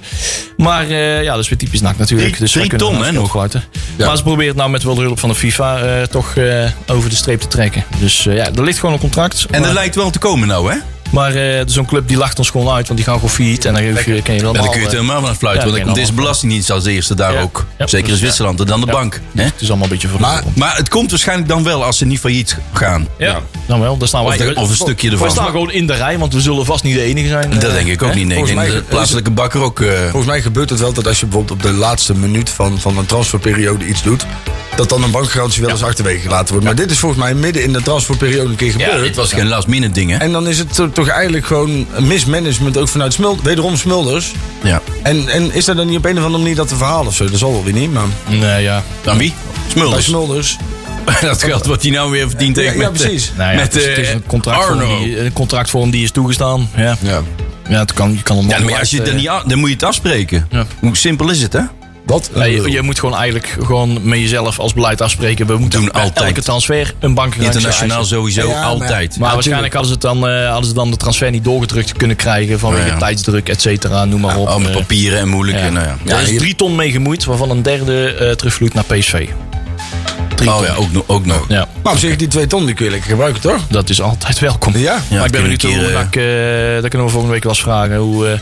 Maar eh, ja, dat is weer typisch NAC natuurlijk.
Drie-
dus wij
drie
kunnen
ton,
daar
hè,
geld
nog.
kwijten. Maar ze probeert nou met wel de hulp van de FIFA eh, toch eh, over de streep te trekken. Dus eh, ja, er ligt gewoon een contract.
niet. En
maar
dat lijkt wel te komen nou, hè?
maar eh, zo'n club die lacht ons gewoon uit, want die gaan gewoon failliet. En dan geef je, ken
Ja,
je wel
dan
allemaal,
kun je het
eh,
helemaal vanaf fluiten.
ja,
want dan komt
dat
deze
kan
belastingdienst als eerste daar
Ja.
ook.
Ja,
Zeker in
dus-
Zwitserland en dan de
ja.
bank.
Dus
Hè?
het is allemaal een beetje voor
Maar-
Maar het komt waarschijnlijk dan wel als ze niet failliet gaan.
ja, dan wel. Daar staan
Of,
wij.
de- of een stukje
we
ervan.
staan gewoon in de rij, want we zullen vast niet de enige zijn. eh,
Dat denk ik ook niet. Nee, ik
Eh, Volgens
denk
mij-
dat de plaatselijke bakker ook... eh,
Volgens mij gebeurt het wel dat als je bijvoorbeeld op de laatste minuut van, van een transferperiode iets doet, dat dan een bankgarantie wel eens achterwege gelaten wordt. Maar dit is volgens mij midden in de transferperiode een keer gebeurd.
ja, dit was geen last minute ding, hè?
En dan is het to- toch eigenlijk gewoon een mismanagement ook vanuit Smulders. Wederom Smulders.
Ja.
En, en is er dan niet op een of andere manier dat te verhalen of zo? Dat zal wel weer niet, maar
Nee, ja.
Dan wie?
bij
Smulders.
Smulders.
Dat geld wat hij nou weer verdient
Ja,
heeft
ja,
met, eh,
precies.
Nou ja,
met
het is,
eh,
het is een contractvorm,
Arno.
die, een contractvorm die is toegestaan. Ja,
Ja.
ja het kan, je kan hem
Ja, maar
ongewijs,
als je het
eh,
dan, niet, a- dan moet je het afspreken.
Ja.
Hoe simpel is het, hè?
Wat?
nee,
Oh.
je, je moet gewoon eigenlijk gewoon met jezelf als beleid afspreken. We moeten
Doen
bij
altijd.
elke transfer een bankgarantie
Internationaal
eisen.
sowieso,
Ja, maar-
altijd.
Maar
Ja,
waarschijnlijk hadden ze, het dan, eh, hadden ze dan de transfer niet doorgedrukt kunnen krijgen vanwege
Ja, ja.
tijdsdruk, et cetera, noem maar op.
Al Oh, met
Eh,
papieren en moeilijk. en, nou ja.
Ja, er is drie ton mee gemoeid, waarvan een derde eh terugvloeit naar PSV. Drie
Oh
ton.
ja, ook, nog- ook nog.
Ja,
Maar op zich, die twee ton die kun je lekker gebruiken, toch?
dat is altijd welkom.
Ja.
Ja,
maar ik
kunnen
ben benieuwd
we een
hoe
keer,
NAC, eh, dat kunnen we volgende week wel eens vragen. Hoe, eh,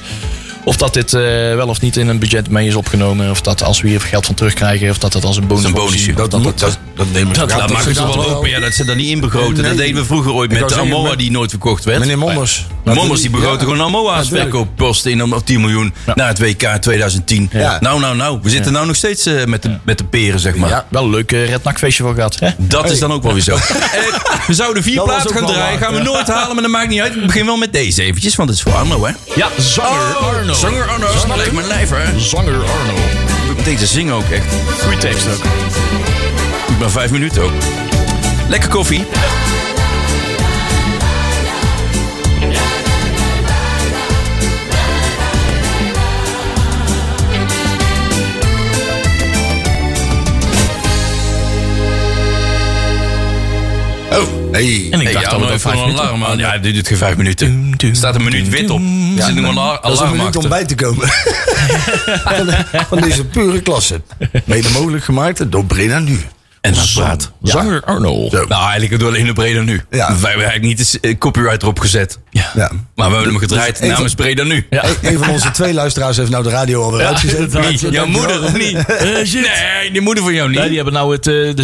of dat dit eh, wel of niet in een budget mee is opgenomen. Of dat als we hier geld van terugkrijgen, of dat dat als een bonus
een
wordt
bonusje.
gezien.
Dat, moet, dat, dat neem ik
dat
Ja,
laat
Dat mag
is
ik toch wel
inderdaad
hopen ja, dat ze dat niet inbegroten.
Nee.
Dat deden we vroeger ooit
Ik
met de
wou zeggen,
Amoa
met-
die nooit verkocht werd.
Meneer Mommers.
Maar Mommers die begroten gewoon Amoa als
natuurlijk.
verkooppost in om op 10 miljoen naar het WK 2010.
Ja.
Nou, nou, nou. We zitten nou nog steeds eh, met, de, met de peren, zeg maar.
Ja.
Wel een leuk eh, Red NAC feestje van gehad. Hè?
Dat is dan ook wel weer zo. Eh, we zouden vier
Dat was
platen
ook
gaan
wel
draaien.
waar.
Gaan we nooit halen, maar dat maakt niet uit. Ik begin wel met deze eventjes, want het is voor Arno, hè?
Ja, Oh. zanger Arno.
Zanger Arno. Leek mijn lijf, hè?
Zanger Arno.
Deze zingen ook echt.
Goeie tekst ook.
Ik ben vijf minuten ook. Lekker koffie. Oh, Oh, hey.
En ik dacht dat
Arno
het
heeft
al
nog
vijf
een alarm
minuten-
aan. Ja, dit duurt geen vijf minuten. Er staat een minuut wit op. Er zit nu een alar-
Dat is een
alarm
minuut om
achter.
bij te komen. van, van deze pure klasse. Mede mogelijk gemaakt door Breda nu.
En dat praat.
Zanger Arno.
Nou, eigenlijk door alleen de breder nu.
Ja.
Wij hebben eigenlijk niet de eh, copyright erop gezet.
Ja. Dus
Maar we hebben hem gedraaid
even-
namens Breda nu.
Ja.
E- een van onze twee luisteraars heeft nou de radio alweer uitgezet.
Wie? Jouw moeder of niet? nee, de moeder van jou niet.
Nee, Eh, die hebben nou het, eh, de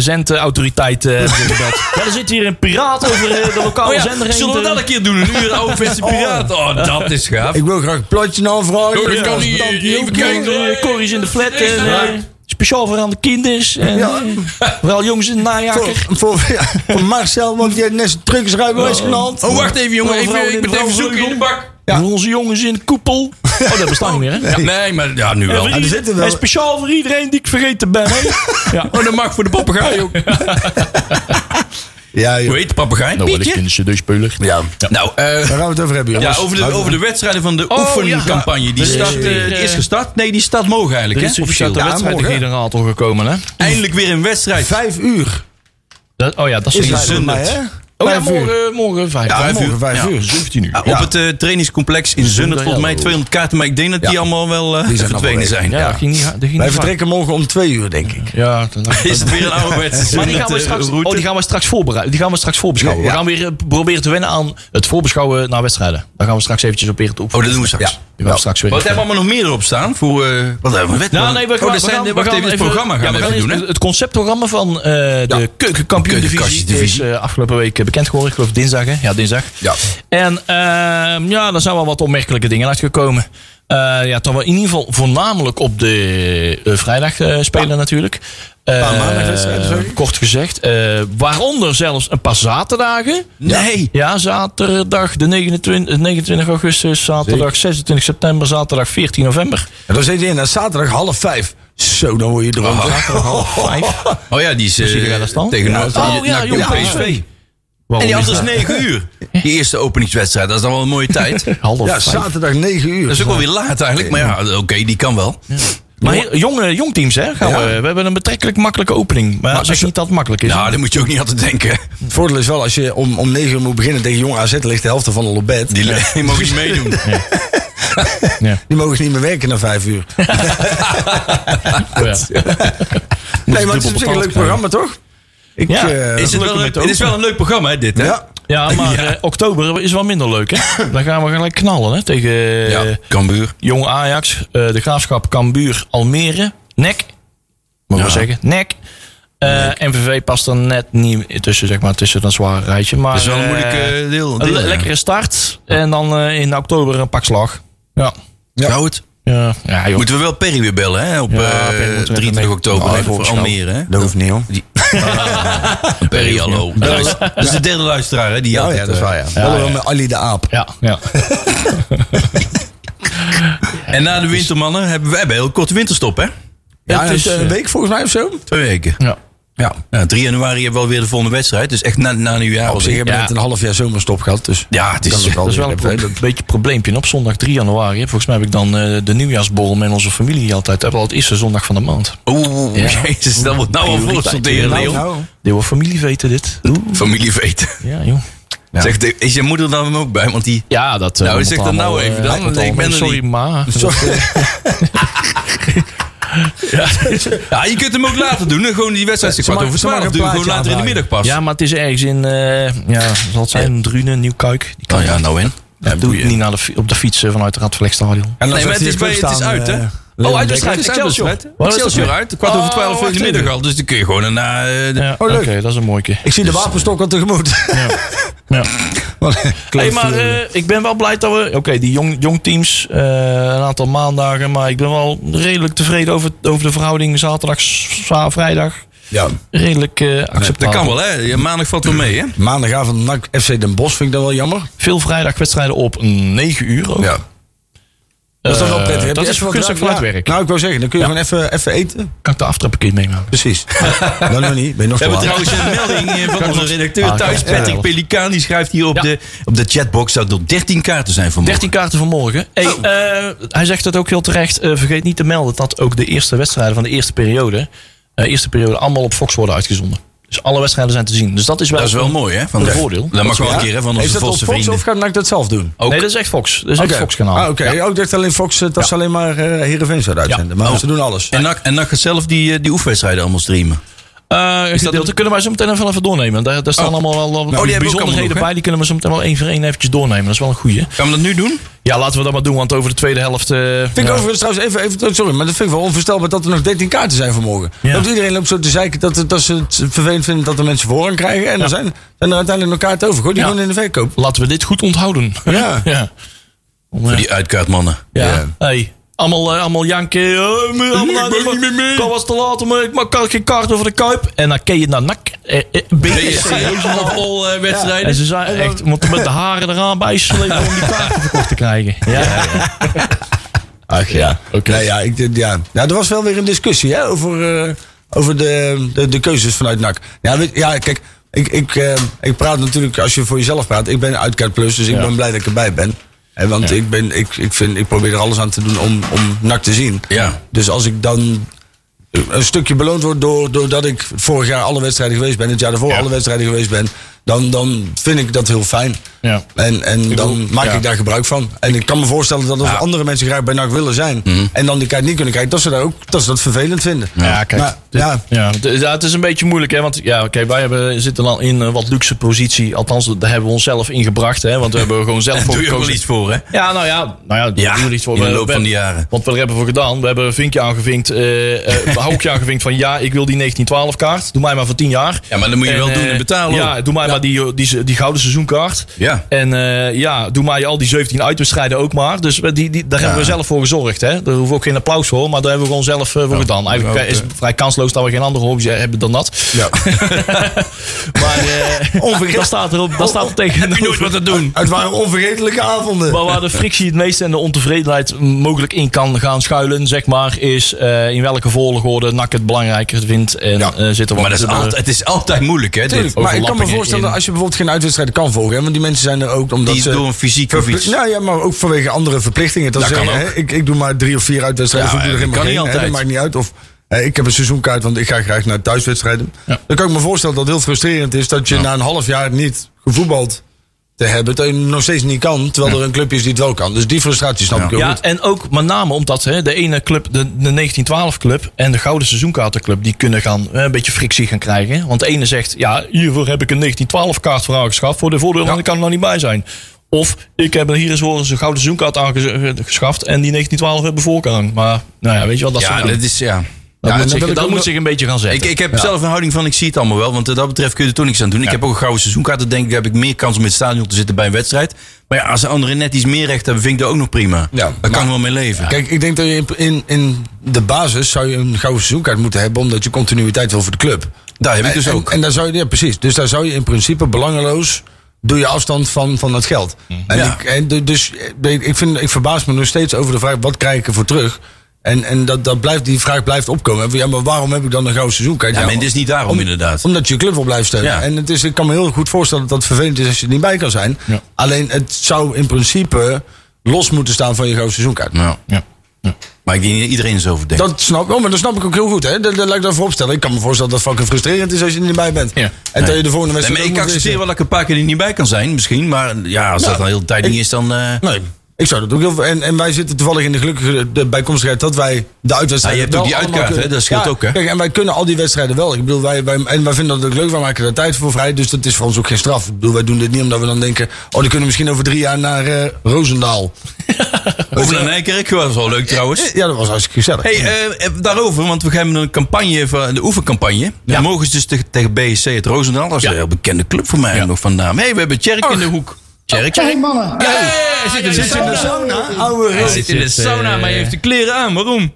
zendautoriteit eh, gebeld. ja, er zit hier een piraat over eh, de lokale
Oh ja,
zender heen.
zullen we
te-
dat een keer doen? Een uur oude versie piraat. Oh, dat is gaaf.
Ik wil graag een plotje aanvragen.
Oh, dat kan niet.
Bedankt,
Even
Joep.
kijken.
Eh, Corrie's in de flat. eh,
Ja.
speciaal voor aan de kinders. En,
Ja.
eh, Vooral jongens in de najager.
Voor, voor, ja, voor Marcel, want die heeft net zijn truckersrijbewijs knald.
Oh, wacht even jongen.
Vrouwen
Even, ik ben
in de
even zoeken in de
vrouwenvleugel.
bak.
Voor onze jongens in de koepel. Oh, dat bestaat niet meer, hè?
Ja, nee, maar ja, nu wel.
En, voor
er
ieder-
zitten wel-
en speciaal voor iedereen die ik vergeten ben. hè? ja.
Oh, dat mag voor de papegaai ook.
Ja, joh.
Hoe heet de papegaai?
Nou,
Pietje?
speler.
ja.
Nou, eh,
Daar gaan we het over hebben,
ja,
jongens.
over de,
Laten we-
over de wedstrijden van de
dus Oh,
oefencampagne. Die,
ja.
start, eh,
Er is,
die is
eh,
gestart. Nee, die start mogen
Er
eigenlijk.
is
Hè?
officieel de
Ja,
wedstrijd
morgen, hè?
generaal toch gekomen, hè?
Eindelijk weer een wedstrijd.
Vijf uur.
Dat, oh ja, dat
Is
is
het
een
voor mij,
Zundert.
hè?
Oh ja,
Vijf uur.
morgen, morgen vijf.
Ja,
vijf uur.
morgen vijf
Ja.
uur.
17 uur.
Op het eh, trainingscomplex in Zundert. Volgens mij 200 kaarten. Maar ik denk dat die
Ja.
allemaal wel eh,
Die zijn
verdwenen
allemaal
zijn.
Ja, dat ging niet, dat ging niet
Wij
vaak.
vertrekken morgen om twee uur, denk ik.
Ja, dat- dat-
Is het weer een ouderwetse
Maar die gaan, we
eh,
straks, oh, die gaan we straks voorbereiden. Die gaan we straks voorbeschouwen.
Ja.
We gaan weer eh, proberen te wennen aan het voorbeschouwen naar wedstrijden. Daar gaan we straks eventjes op weer het
Oh,
oefenen.
dat doen we straks.
Die gaan we straks weer.
Wat hebben we allemaal nog meer erop staan? Voor, eh, wat hebben we? Wet-
Nou, nee, we
Oh,
gaan,
dat
we
zijn-
gaan, we
wacht
gaan
even, het
even-
programma gaan
ja,
we
gaan
even doen, hè?
eerst Het keukenkampioendivisie van eh, de keukenkampioen-divisie is
Keukenkampioendivisie.
eh, afgelopen week eh, bekend geworden. Ik geloof dinsdag, hè? Ja, dinsdag.
Ja.
En ehm, ja, daar zijn wel wat opmerkelijke dingen uitgekomen. Eh, ja, toch wel in ieder geval voornamelijk op de eh, vrijdag eh, spelen natuurlijk. Eh,
maandagwedstrijden, sorry.
kort gezegd. Eh, waaronder zelfs een paar zaterdagen.
Nee.
Ja, zaterdag de 29, 29 augustus, zaterdag 26 september, zaterdag 14 november.
En dan zit je in, en zaterdag half vijf. Zo, dan word je
Ah,
dronken.
Oh.
Zaterdag half vijf.
Oh ja, die is eh,
jullie gaan daar staan?
tegen
Ja.
Noord-
Oh, ja,
NAC
jong,
PSV.
PSV.
En
Waarom
die
is
andere is
dat?
9 uur. Die eerste openingswedstrijd, dat is dan wel een mooie tijd. Dat
Half
Ja,
vijf.
zaterdag 9 uur.
is ook wel weer laat eigenlijk, maar ja, oké, die kan wel.
Maar heel- jonge, jong teams, hè? Gaan
Ja.
we, we hebben een betrekkelijk makkelijke opening. Maar, als
als
zeg
je-
niet dat het makkelijk is.
Nou, dat moet je ook niet altijd denken.
Het voordeel is wel, als je om, om 9 uur moet beginnen tegen jong AZ, ligt de helft ervan al op bed.
Die, die mogen niet meedoen.
ja.
Die mogen niet meer werken na 5 uur.
Oh, ja.
Nee, maar het is op zich een leuk programma, toch? Ik,
Ja,
eh,
Is het, wel een, het is wel een leuk programma, hè, dit, hè?
ja.
Ja, maar eh, oktober is wel minder leuk, hè? Dan gaan we gelijk knallen, hè? Tegen eh,
Ja, Cambuur.
Jong Ajax, eh, de Graafschap, Cambuur, Almere, NEC. Mag ik
Ja.
wel zeggen, NEC. Eh, MVV past er net niet tussen, zeg maar, tussen dat zware rijtje. Maar,
Dat is wel een
eh,
moeilijk eh, deel.
een
deel,
le-
ja.
lekkere start. En dan eh, in oktober een pak slag. Ja.
Ja.
Zou het?
Ja, ja joh.
Moeten we wel Perry weer bellen, hè? Op
Ja,
eh,
Perry moeten we even
23
mee.
oktober,
Oh,
hè,
even
voor
opschouwen.
Almere, hè?
Dat hoeft niet, hoor.
Perry, hallo. Luister- Dat is de derde luisteraar, hè? Die
Oh
altijd,
ja, dat is
eh,
waar, ja.
Ah,
Bellen we met Ali de Aap.
Ja, ja.
En na de wintermannen hebben we we hebben een heel korte winterstop, hè?
Ja,
het is,
een
eh,
week volgens mij of zo.
Twee weken.
ja.
Ja.
Nou, 3 januari hebben we alweer de volgende wedstrijd. Dus echt na, na nieuwjaar.
Op
alweer.
zich hebben we
Ja.
net een half jaar zomerstop gehad, dus...
Ja, het
Dat
is...
is wel-
Dat is wel een
Alweer,
pro-
hè, dat-
beetje een probleempje. En op zondag 3 januari, hè, volgens mij heb ik dan eh, de nieuwjaarsborrel met onze familie altijd. Dat is wel het eerste zondag van de maand.
Oeh,
Ja.
jezus, dat wordt nou al
Prioriteiten.
voorstonderen,
Nou,
Leon.
Dit wordt familie weten dit.
Familie weet.
Ja, joh.
Zegt, is je moeder daar dan ook bij? Want die...
Ja, dat... eh,
Nou,
moet
zeg dat
allemaal,
nou
eh,
even dan,
moet
want ik
allemaal.
ben er
Sorry,
niet.
ma.
Dus-
Ja, je kunt hem ook later doen. hè. Gewoon die wedstrijd is
Ze
kwart
mag-
over
ze mag
twaalf.
een
Doe je gewoon
plaatje
later in de
aandraaien.
middag pas.
Ja, maar het is ergens in... eh, ja, zal het zijn? Drunen, Nieuwkuik. Die kan
Nou ja, nou in.
dat doe ik niet naar de, fi- op de fiets eh, vanuit het Radverlegstadion.
En
Nee,
dan
maar
zegt
het
hij
is, bij, het
club
is
staan,
uit, hè?
eh,
oh,
Leon
uit de
Dekker.
strijd. Excelsior.
Wat is
Excelsior
dat?
uit. Kwart over
Oh,
twaalf in
wacht
de
even.
middag al. Dus dan kun je gewoon naar... eh, de-
Ja,
Oh, leuk.
Oké, dat is een mooie.
Ik zie de wapenstok al tegemoet.
Ja.
Wat een
Hey, maar
klote-
eh, ik ben wel blij dat we. Oké, die jong, jong teams, eh, een aantal maandagen. Maar ik ben wel redelijk tevreden over, over de verhouding zaterdag, s- za- vrijdag.
ja.
Redelijk eh acceptabel.
Dat kan wel, hè? Ja, Maandag valt wel mee, hè?
Eh, Maandagavond NAC FC Den Bosch vind ik dat wel jammer.
Veel vrijdagwedstrijden op 9 uur. Ook.
Dat is toch wel
Eh,
prettig. Heb
dat
je
is
even wat
gunstig
dra-
voor het
Ja.
werk.
Nou, ik wil zeggen, dan kun je gewoon even, even eten.
Kan ik de aftrapperkind meemaken?
Precies. nou, nog niet. Ben je nog
We
te
hebben
laat.
trouwens een melding eh, van onze redacteur
Ah,
thuis,
kijk.
Patrick
Ja.
Pelikaan. Die schrijft hier op,
Ja.
de, op de chatbox dat er 13 kaarten zijn vanmorgen.
13 kaarten vanmorgen. Hey,
Nou.
eh, hij zegt het ook heel terecht. eh, vergeet niet te melden dat ook de eerste wedstrijden van de eerste periode. eh, eerste periode allemaal op Fox worden uitgezonden. Dus alle wedstrijden zijn te zien. Dus dat is wel,
Dat is wel mooi, hè? Van
Een
de-
voordeel.
Dat mag wel een
Ja?
keer, hè? Van
Is
onze
dat op
volste
Fox
vrienden.
of gaat NAC dat zelf doen?
ook.
Nee, dat is echt Fox. Dat is echt
Oké.
Fox-kanaal.
Ah, oké. Ook dat alleen Fox, eh, dat ze alleen maar eh Heerenveen zouden uitzenden. Maar ze doen alles.
En NAC, en NAC gaat zelf die, eh, die oefenwedstrijden allemaal streamen.
Eh, is dat kunnen wij zo meteen even, even doornemen. Daar, daar staan allemaal wel wat
hebben we ook allemaal
bijzonderheden
nog, hè?
bij. Die kunnen we zo meteen wel één voor één eventjes doornemen. Dat is wel een goeie.
Gaan we dat nu doen?
Ja, laten we dat maar doen, want over de tweede helft... eh,
Vind
ja.
ik overigens trouwens even, even, sorry, maar dat vind ik wel onvoorstelbaar dat er nog 13 kaarten zijn vanmorgen.
Ja.
Want iedereen loopt zo te zeiken dat, het- dat ze het vervelend vinden dat er mensen voorrang krijgen. En dan zijn, zijn er uiteindelijk nog kaarten over. Gooi die
Ja.
gewoon in de verkoop.
Laten we dit goed onthouden.
Ja.
ja. Om,
Voor
eh,
die uitkaartmannen.
ja.
ja.
Hey. Allemaal, eh, allemaal janken. eh, me- allemaal- Kan was te laat, maar ik mag- kan geen kaart over de kuip. En dan ken je naar nak. Eh, eh, BSC.
Half al eh, wedstrijden.
En ze zijn echt, moeten met de haren eraan bijslepen om die kaarten verkocht te krijgen. Ja,
Ach ja.
Oké.
Nee, ja, ik, dit- ja. Nou, er was wel weer een discussie hè, over, eh, over de, de, de keuzes vanuit NAC. Ja, weet- ja kijk, ik, ik, eh, ik praat natuurlijk, als je voor jezelf praat, ik ben uitkaart plus, dus ik
Ja.
ben blij dat ik erbij ben. Hè, want ik, ben, ik, ik, vind, ik probeer er alles aan te doen om, om NAC te zien.
Ja.
Dus als ik dan eh, een stukje beloond wordt door, doordat ik vorig jaar alle wedstrijden geweest ben, het jaar daarvoor alle wedstrijden geweest ben, dan, dan vind ik dat heel fijn.
Ja.
En, en dan maak
ja.
ik daar gebruik van. En ik kan me voorstellen dat als andere mensen graag bij NAC willen zijn en dan die kaart niet kunnen krijgen, dat ze, daar ook, dat, ze dat vervelend vinden.
Mhm. Ja, kijk.
Maar, ja,
Ja, het- ja, het is een beetje moeilijk, hè? Want ja, oké, wij hebben, zitten dan in een wat luxe positie. Althans, daar hebben we onszelf in gebracht, hè? Want we hebben gewoon zelf
Daar
voor
doe je ook wel
gekozen.
iets voor, hè?
Ja, nou ja, nou ja, daar
Ja,
doen we iets voor.
in de
We-
loop
we-
van de jaren.
Want we hebben ervoor gedaan. We hebben een vinkje aangevinkt, eh eh hoekje aangevinkt van ja, ik wil die 1912 kaart. Doe mij maar voor 10 jaar.
Ja, maar dan moet je
En,
wel doen en
eh,
betalen
Ja,
ook.
doe mij maar die, die, die gouden seizoenkaart.
Ja.
En eh, ja, doe mij al die 17 uitwedstrijden ook maar. Dus we- die, die, daar hebben we zelf voor gezorgd. Hè? Daar hoeven we ook geen applaus voor, maar daar hebben we gewoon zelf eh, voor gedaan. Eigenlijk
ook,
is het vrij kansloos dat we geen andere hobby hebben dan dat.
ja.
Maar eh dat staat erop. Dat staat er
Heb je nooit
tegenover.
wat te doen?
Het waren onvergetelijke avonden.
Maar waar de frictie het meeste en de ontevredenheid mogelijk in kan gaan schuilen, zeg maar, is eh, in welke volgorde NAC het belangrijker vindt. En
Ja,
eh, zit er wat
Maar dat is
te-
altijd, het is altijd moeilijk, hè? Dit.
Tuurlijk, maar ik kan me
overlappingen
voorstellen dat als je bijvoorbeeld geen uitwedstrijden kan volgen, hè, want die mensen zijn er ook omdat
Die
ze...
door een fysieke
Verpli-
fiets.
Nou ja, maar ook vanwege andere verplichtingen. Dat,
Dat
ze
kan
zeggen,
ook.
hè, ik, ik doe maar drie of vier uitwedstrijden.
Ja,
of ik doe er
dat
helemaal
kan niet
geen, hè,
altijd.
Dat maakt niet uit. Of hè, ik heb een seizoenkaart, want ik ga graag naar thuiswedstrijden.
Ja.
Dan kan ik me voorstellen dat het heel frustrerend is dat je na een half jaar niet gevoetbald te hebben, dat je nog steeds niet kan, terwijl er een clubje is die het wel kan. Dus die frustratie snap ik ook
Ja,
goed.
en ook met name omdat hè, de ene club, de, de 1912-club en de Gouden Seizoenkaartenclub, die kunnen gaan eh, een beetje frictie gaan krijgen. Want de ene zegt, ja, hiervoor heb ik een 1912-kaart voor aangeschaft. Voor de voordeel, want ik kan er nog niet bij zijn. Of ik heb hier eens horen eens een Gouden Seizoenkaart aangeschaft en die 1912 hebben voorkant. Maar nou ja, weet je wel, dat, soort
Ja,
dingen.
dat is ja.
dat moet,
en dan
zich,
wil ik
dat
ook
moet
nog-
zich een beetje gaan zetten.
Ik, ik heb zelf een houding van ik zie het allemaal wel. Want wat dat betreft kun je er toch niks aan doen. Ik heb ook een gouden seizoenkaart. Dan denk ik heb ik meer kans om in het stadion te zitten bij een wedstrijd. Maar ja, als de anderen net iets meer recht hebben, vind ik dat ook nog prima.
Ja,
Daar kan ik wel mee leven.
Kijk, ik denk dat je in, in, in de basis zou je een gouden seizoenkaart moeten hebben, omdat je continuïteit wil voor de club.
daar heb ik dus
en,
ook.
En daar zou je, ja, precies. Dus daar zou je in principe belangeloos. Doe je afstand van, van dat geld. En
Mhm. Ja.
ik, en du- dus eh, ik, vind, ik verbaas me nog steeds over de vraag: wat krijg ik ervoor terug? En, en dat, dat blijft, die vraag blijft opkomen. Ja, maar waarom heb ik dan een gouden seizoenkaart?
ja, maar het is niet daarom
om-
inderdaad.
omdat je je club wil blijven steunen.
Ja.
En het is, ik kan me heel goed voorstellen dat het vervelend is als je er niet bij kan zijn.
Ja.
Alleen het zou in principe los moeten staan van je gouden seizoenkaart.
Nou,
Ja. Ja.
maar ik denk dat iedereen zo over denkt.
Dat snap ik, oh, maar dat snap ik ook heel goed. Hè? Dat, dat laat ik daarvoor opstellen. Ik kan me voorstellen dat het fucking frustrerend is als je er niet bij bent.
Ja.
En dat je de volgende
Nee,
wedstrijd.
maar
ook
ik
moet
accepteer
winnen.
wel dat ik een paar keer er niet bij kan zijn, misschien. Maar ja, als dat
Nou,
al heel de tijd
ik-
niet is, dan... eh,
Nee, ik zou dat ook heel veel. En, en wij zitten toevallig in de gelukkige de bijkomstigheid dat wij de uitwedstrijden.
Ja, je hebt ook
wel
die
allemaal
uitkaart,
kunnen-
hè, dat scheelt
Ja,
ook, hè.
Kijk, en wij kunnen al die wedstrijden wel. Ik bedoel, wij, wij, en wij vinden dat ook leuk, wij maken daar tijd voor vrij. Dus dat is voor ons ook geen straf. Ik bedoel, wij doen dit niet omdat we dan denken. Oh, dan kunnen we misschien over drie jaar naar eh, Roosendaal.
Of naar Nijkerk, was wel leuk trouwens.
Ja, dat was hartstikke gezellig.
Hey, eh, eh, daarover, want we hebben een campagne, van, de oefencampagne. Ja. Mogen ze dus tegen, tegen BSC het Roosendaal. Dat is een heel bekende club voor mij nog vandaan. hey, we hebben Tjerk in de hoek. Tjerk?
Hey mannen.
Hey, hij zit in de sauna.
ouwe
Hij zit in de
Hij zit,
sauna,
eh,
maar hij heeft de kleren aan. Waarom?
Eh,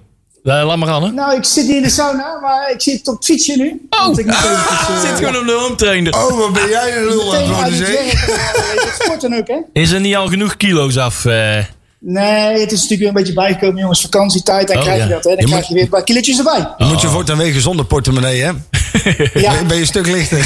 laat maar aan, hè.
Nou, ik zit niet in de sauna, maar ik zit op het fietsje nu. want ik moet eventjes, eh,
Zit gewoon op de home trainer.
Oh, wat ben jij een lul aan
meteen
het
uit
worden,
het
zeg.
werk. eh, dat sporten ook, hè?
Is er niet al genoeg kilo's af? eh?
Nee, het is natuurlijk weer een beetje bijgekomen, jongens. Vakantietijd, dan
Oh,
krijg je
ja.
dat, hè? Dan
Je
krijg
moet-
je weer een paar kilootjes erbij.
Dan moet je voortaan wegen zonder portemonnee, hè?
Ja,
Ben je een stuk lichter.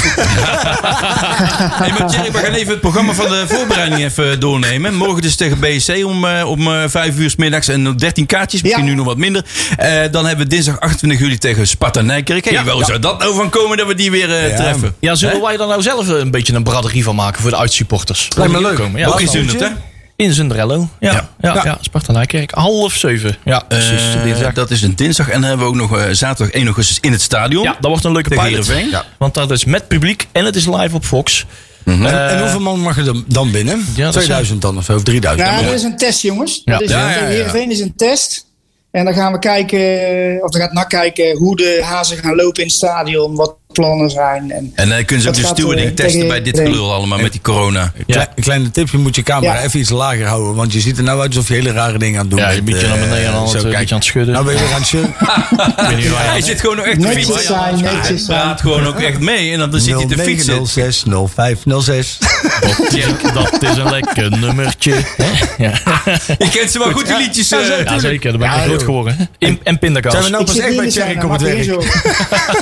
Hey, maar Tjerk, we gaan even het programma van de voorbereiding even doornemen. Morgen dus tegen BSC om, eh, om eh, 5 uur s middags en nog 13 kaartjes, misschien
Ja.
nu nog wat minder. Eh, dan hebben we dinsdag 28 juli tegen Sparta Nijkerk. Hey, Waar zou dat nou van komen dat we die weer eh, treffen?
Ja, zullen wij daar nou zelf een beetje een braderie van maken voor de uitsupporters?
Lijkt me
Die
leuk.
komen, ja.
Ook in
dan.
Zundert, hè?
In Zundrello. Ja,
Ja.
ja. ja, Sparta Nijkerk. Half zeven. Ja, precies.
Eh,
dinsdag.
dat is een dinsdag. En dan hebben we ook nog eh, zaterdag 1 augustus in het stadion.
ja, dat wordt een leuke
Tegen
pilot.
Heerenveen?
Ja. Want dat is met publiek en het is live op Fox.
En,
eh,
en hoeveel man mag je dan- dan binnen?
zijn-
2000 dan of zo, of 3000.
nou, dat is een test, jongens. Dat
Ja.
is,
Ja, ja, ja.
Heerenveen is een test. En dan gaan we kijken, eh, of dan gaat NAC kijken hoe de hazen gaan lopen in het stadion, wat de plannen zijn. En
En dan kunnen ze ook
Dat
de
gaat,
stewarding
eh,
testen
tegen-
bij dit
tegen-
gelul allemaal met die corona.
Ja.
Klei- kleine tip, je moet je camera
Ja.
even iets lager houden. Want je ziet er nou uit alsof je hele rare dingen aan het doen
Ja,
bent.
je bent je
eh,
naar beneden aan het,
zo,
eh,
kijk.
beetje aan het schudden.
Nou ben je weer aan het schudden.
Ik weet niet waar je-
Hij zit gewoon nog echt
Netjes
te
zijn,
fietsen.
netjes
Hij
zijn.
praat gewoon ook echt mee en dan, dan zit hij te fietsen.
06 05 06.
Dat, Tjerk, dat is een lekker nummertje. Hè? Ja.
Je kent ze wel goed, die liedjes. eh.
ja, zeker. Daar ben ik
Ja,
mee groot
joh.
geworden. hè. In, en pindakaas.
Zijn we nou
ik
pas
zit
echt
niet in
bij
de
Tjerk
sauna,
op het
maak je geen
werk?
zorgen.